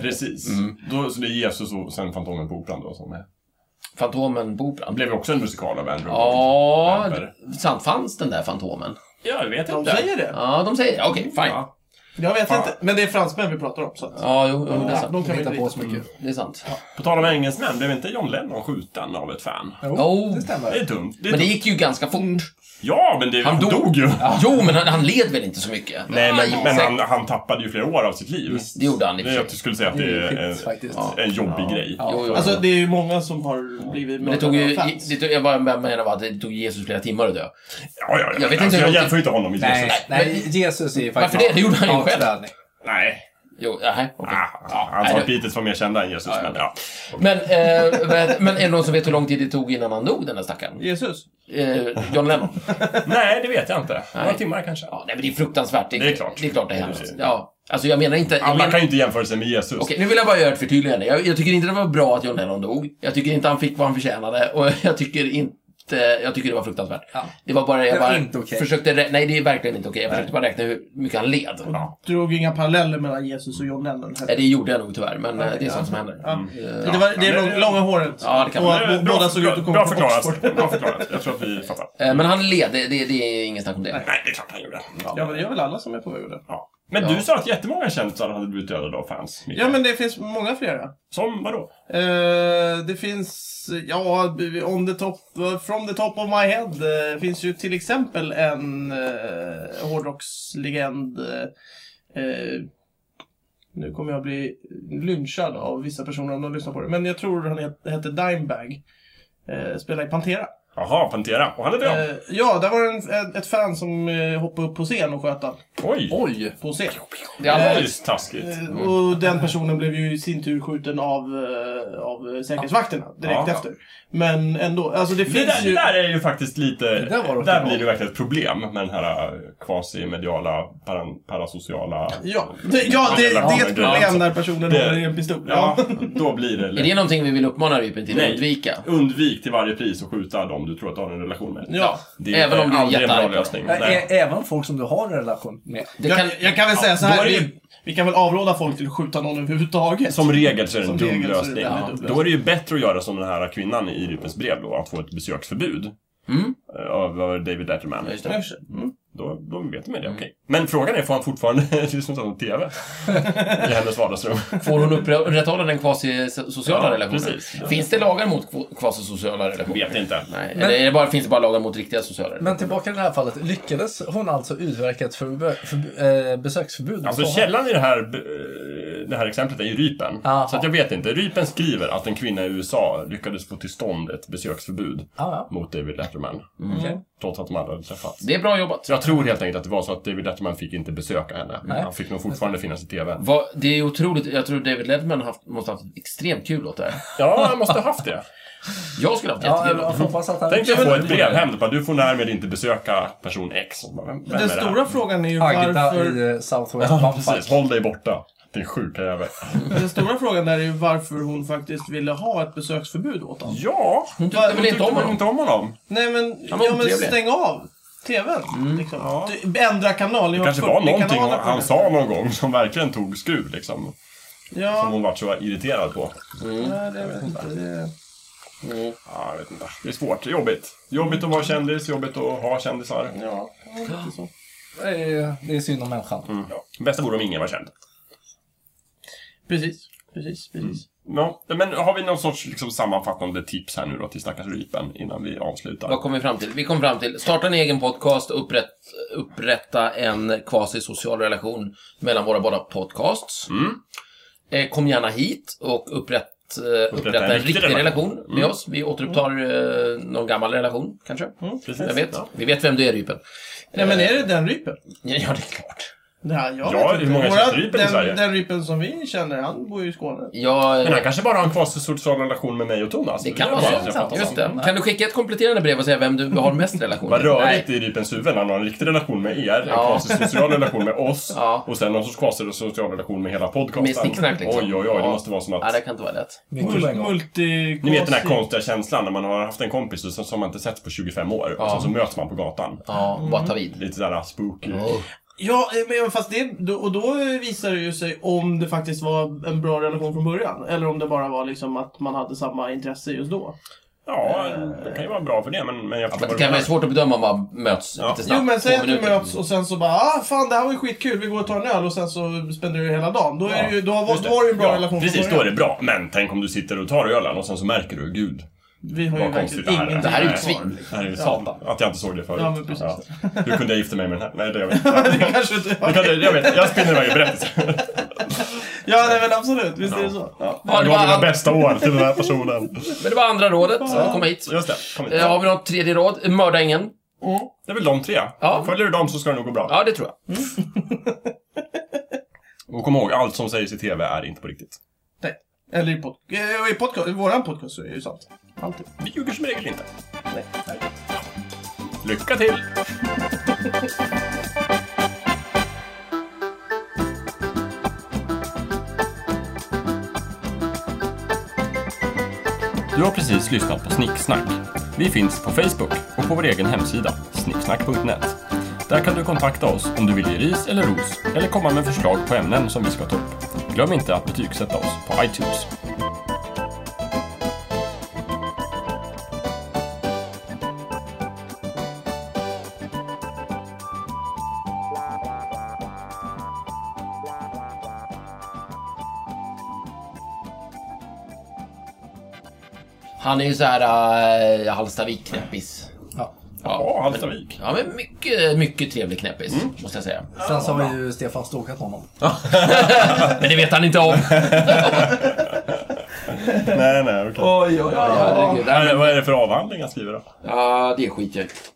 D: Precis. Mm. Då, så det är Jesus och sen Fantomen på Operan då som är...
A: Fantomen på
D: Det
A: Operan.
D: blev ju också en musikal av Andrew.
A: Ja,
D: Webber.
A: d- sant fanns den där Fantomen?
D: Ja, jag vet
C: De
D: inte.
C: säger det.
A: Ja, de säger Okej, fine. Ja,
D: Ja.
C: Jag vet
D: Fan.
C: inte. Men det är fransmän vi pratar om så att...
A: jo, jo, det är sant.
C: de kan vi
E: Hitta
C: inte
E: på
C: riktigt.
E: så mycket.
D: Mm.
A: Det är sant.
D: På tal om engelsmän, blev inte John Lennon skjuten av ett fan?
E: Jo,
A: Jo.
E: det
D: Det är
E: stämmer.
D: dumt. Det är
A: Men det
D: dumt.
A: gick ju ganska fort.
D: Ja, men det, han dog, ju.
C: Mm.
A: Jo, men han, han led väl inte så mycket?
D: Nej, men,
A: Aj,
D: men
A: säkert.
D: han, han tappade ju flera år av sitt liv.
A: Det gjorde han i och för
D: Det är
A: sig.
D: att du skulle säga att
E: Det
D: det
E: är
D: är en,
E: skit, faktiskt.
D: en jobbig grej.
E: Ja.
A: Jo, jo, jo.
C: Alltså det är ju många som har blivit
A: Men det tog
C: mördade av
A: ju,
C: fans.
A: det, tog- jag bara menar bara att det tog Jesus flera timmar att dö.
D: Ja, ja, ja.
A: Jag vet inte
D: alltså,
A: hur
D: jag
A: långt-
D: jämför ju inte honom med
E: Nej,
D: Jesus.
E: nej, Jesus är ju faktiskt...
A: Varför det? Det gjorde han ju
E: Ja,
A: själv.
E: träning.
D: Nej.
A: Jo, nej, okej.
D: Ah, hans
A: nej,
D: Carl
A: det-
D: Peters var mer kända än Jesus, men ja.
A: Men, eh, vad- men är det någon som vet hur lång tid det tog innan han dog, den där stackaren?
C: Jesus.
A: Eh, John Lennon?
D: Nej, det vet jag inte. Några
A: Nej.
D: timmar kanske.
A: Ja, nej, men det är fruktansvärt.
D: Det är klart.
A: Det är klart det är hemskt.
D: Precis.
A: Ja. Alltså jag menar inte... Jag
D: Alla
A: menar,
D: kan ju inte jämföra sig med Jesus.
A: Okej, nu vill jag bara göra ett förtydligande. Jag, jag tycker inte det var bra att John Lennon dog. Jag tycker inte han fick vad han förtjänade. Och jag tycker inte... inte... Jag tycker det var fruktansvärt.
E: Ja.
A: Det var bara... Jag
E: Det var
A: bara
E: inte okej.
A: försökte rä- Nej, det är verkligen inte okej. Jag försökte bara räkna hur mycket han led. Ja.
C: Drog inga paralleller mellan Jesus och John Lennon.
A: Nej, Det gjorde jag nog tyvärr, men eh, det är sånt som händer.
C: Ja. Det, var, det är
D: Ja, men-
C: lång, långa håret.
A: Ja, det kan
C: och
A: man-
C: att bo-
D: Bra
C: båda såg ut att komma
D: förklarat. Bra
C: från Oxford.
D: förklarat. Bra förklarat. Jag tror att vi fattar.
A: Eh, Men han led, det, det, det är inget snack om det.
D: Nej, det är klart han gjorde.
C: Ja, men det gör väl alla som är på väg att dö.
D: Ja. Men du sa att jättemånga kändisar hade blivit dödade av fans. Mikael.
C: Ja, men det finns många flera.
D: Som vadå?
C: Eh, det finns, ja, on the top, from the top of my head eh, finns ju till exempel en uh, hårdrockslegend. eh, eh, nu kommer jag bli lynchad av vissa personer om de lyssnar på det. Men jag tror han het, hette Dimebag. Uh, spelade i Pantera.
D: Jaha, Pantera. Och han är död.
C: Eh, ja, där var det en, ett, ett fan som eh, hoppade upp på scen och sköt han.
D: Oj!
E: Oj!
C: På scen.
A: Det är allvarligt.
D: Oj, taskigt.
C: Eh, Och den personen blev ju i sin tur skjuten av, eh, av säkerhetsvakterna direkt
D: Ja.
C: efter. Men ändå, alltså det
D: Det
C: finns
D: där, det
C: ju...
D: där är ju faktiskt lite...
E: där var
D: Där,
E: rock'n'roll.
D: blir det verkligen ett problem med den här eh, quasi-mediala, paran, parasociala...
C: Ja, det, ja, det, det är ett problem när personen
D: Det-
C: håller i en pistol.
D: Ja,
C: Ja.
D: då blir det...
A: Är det någonting vi vill uppmana Rypen till att
D: Nej.
A: undvika?
D: Undvik till varje pris att skjuta dem du tror att du har en relation med.
C: Ja.
D: Det
A: Även om du är
D: aldrig en bra
A: jättearg på
D: lösning.
E: Ä-
D: Nej.
E: ä- Även folk som du har en relation med.
A: Det kan,
C: Jag, jag kan väl säga så
D: då
C: här.
D: är det ju-
C: Vi, vi kan väl avråda folk till att skjuta någon överhuvudtaget.
D: Som regel så är det en
C: Som
D: dum
C: regel så är det
D: lösning.
C: väldigt dum
D: Då är det ju bättre att göra som den här kvinnan i Rypens brev då, att få ett besöksförbud.
A: Mm.
D: Eh, Av av David Letterman.
A: Ja, just det.
C: Jag ser- Mm.
D: Då, då vet man det, okej. Men frågan är, får han fortfarande lyssna på TV? I hennes vardagsrum.
A: Får hon upprätthålla den kvasi-sociala
D: Ja,
A: relationen?
D: precis.
A: Finns det lagar mot kvo- kvasi-sociala relationer?
D: Vet inte.
A: Nej,
E: Men-
A: eller är det bara, finns det bara lagar mot riktiga sociala relationer?
E: Men tillbaka till det här fallet. Lyckades hon alltså utverka ett förbu- förbu- eh, besöksförbud?
D: Alltså
E: mot honom?
D: källan i det här, eh, det här exemplet är ju Rypen.
E: Aha.
D: Så att jag vet inte. Rypen skriver att en kvinna i USA lyckades få till stånd ett besöksförbud
E: Ja, ja.
D: mot David Letterman.
E: Okej.
D: Trots att de aldrig hade träffats.
A: Det är bra jobbat.
D: Så jag tror helt enkelt att det var så att David Letterman fick inte besöka henne.
E: Nej.
D: Han fick nog fortfarande finnas i TV.
A: Vad- det är otroligt. Jag tror David Letterman haft, måste haft extremt kul åt det här.
D: Ja, han måste ha haft det.
A: Jag skulle haft
E: Ja,
A: jättekul
E: jag
A: åt det.
E: hoppas att han...
D: Tänk dig att få ett brev hem. det bara, Du får närmed inte besöka person X. Och bara, Vem, vem är
C: Den
D: det här?
C: stora frågan är ju
E: Agda
C: varför...
E: i eh, Southwest
D: Ja,
E: Pump
D: Precis, håll dig borta. Din sjuka jävel.
C: Den stora frågan där är ju varför hon faktiskt ville ha ett besöksförbud åt honom.
D: Ja,
A: Hon tyckte väl inte om honom?
D: inte om honom.
C: Nej men,
D: var
C: ja, men
D: otrevlig. Mm.
C: stäng av TVn. liksom.
D: ja.
C: Du- Ändra kanal. Ni
D: Det
C: har
D: kanske
C: 40
D: var någonting
C: kanaler
D: han,
C: på
D: han
C: den.
D: sa någon gång som verkligen tog skruv liksom. Som
C: Ja,
D: hon vart så irriterad på.
C: nej, det vet jag inte. Det...
D: Ja, jag vet inte. Det är svårt. Det är Jobbigt. Jobbigt att vara kändis, jobbigt att ha kändisar.
C: Ja, lite så.
E: Eh, Det är synd om människan.
D: Ja. Bästa Mm. vore om ingen var känd.
C: Precis, precis,
D: Mm.
C: precis.
D: Ja, men har vi någon sorts liksom, sammanfattande tips här nu då till stackars Rypen innan vi avslutar?
A: Vad kom vi fram till? Vi kom fram till starta en egen podcast och upprätt, upprätta en kvasi-social relation mellan våra båda podcasts. Eh, kom gärna hit och upprätt, eh, upprätta, en, riktig, relation, med oss. Vi återupptar eh, någon gammal relation, kanske.
D: Precis.
A: Jag vet.
D: Ja.
A: Vi vet vem du är, Rypen. Eh,
C: Nej men är det den rypen?
A: Ja, det är klart.
C: Ja, jag
D: Ja,
C: vet
D: hur många
C: inte.
D: känns rypen i
C: den,
D: Sverige?
C: Den rypen som vi känner, han bor ju i Skåne.
A: Jag,
D: Men han kanske bara har en kvasisocial relation med mig och Thomas.
A: Eh, Det kan
D: är
A: vara
D: bara
A: så.
D: att jag fattar
A: Just
D: sånt.
A: det. Kan du skicka ett kompletterande brev och säga vem du har mest relation
D: Vad
A: med?
D: rörigt i Rypens huvud. Han har en riktig relation med er, en
A: Ja.
D: kvasisocial relation med oss
A: Ja.
D: och sen någon sorts kvasisocial relation med hela podcasten.
A: Med snicksnack liksom.
D: Oj, oj, oj. Det
A: Ja.
D: måste vara som
A: Nej,
D: att...
A: det kan inte vara lätt.
E: Mycket på en gång.
C: Multi...
D: Ni vet den här konstiga känslan när man har haft en kompis och så- som man inte sett på 25 år och sen så möts man på gatan.
A: Ja, bara ta vid.
D: Lite sådär spooky.
C: Ja, eh, men fast det... då- Och då visar det ju sig om det faktiskt var en bra relation från början. Eller om det bara var liksom att man hade samma intresse just då.
D: Ja, det kan ju vara bra för det men, men jag förstår
A: Men det
D: vad du
A: kan vara
D: menar.
A: svårt att bedöma om man möts
D: Ja.
A: lite snabbt.
C: Jo men säg
A: två
C: att du
A: minuter.
C: möts och sen så bara ah fan det här var ju skitkul, vi går och tar en öl och sen så spenderar du hela dagen. Då, är det ju, då, har,
D: Just
C: då har du ju en bra
D: ja,
C: relation
D: Precis,
C: från
D: då är
C: början.
D: det bra. Men tänk om du sitter och tar ölen och sen så märker du, gud,
C: Vi har ju
D: vad konstigt
C: verkligen
D: det
A: Det här är
C: ingenting
D: här är.
A: ju
C: kvar.
A: ett svin.
D: Det här är ju satan. Att jag inte såg det förut.
C: Ja, men precis.
D: Hur kunde jag gifta mig med den här? Nej, det jag vet inte.
C: Det kanske inte...
D: Jag, kan, jag vet, jag spinner iväg i berättelsen.
C: Ja nej men absolut, visst är det så. Ja.
A: Ja, det
D: Jag gav mina
A: var,
D: bästa år till den här personen.
A: men det var andra rådet. Kom hit.
D: Just det, kom hit.
A: Eh, Har vi något tredje råd? Mörda ingen.
C: Mm.
D: Det är väl de tre.
A: Ja.
D: Följer du dem så ska det nog gå bra.
A: Ja, det tror jag.
D: Och kom ihåg, allt som sägs i TV är inte på riktigt.
C: Nej. Eller i, pod eh, i podcast, i våran podcast så är det ju sant. Alltid.
D: Vi ljuger som regel inte.
C: Nej.
D: Lycka till! Du har precis lyssnat på Snicksnack. Vi finns på Facebook och på vår egen hemsida, snicksnack.net. Där kan du kontakta oss om du vill ge ris eller ros, eller komma med förslag på ämnen som vi ska ta upp. Glöm inte att betygsätta oss på iTunes.
A: Han är ju så här äh, Hallstavik-knäppis.
E: Ja.
D: Ja, Halstavik.
A: Ja, men mycket, mycket trevlig knäppis, måste jag säga.
E: Sen så har ju Stefan stalkat honom.
A: Men det vet han inte om.
D: Nej, nej, okej.
C: Oj, oj, oj.
A: Herregud.
D: Vad är det för avhandling han skriver då?
A: Ja, det skiter jag i.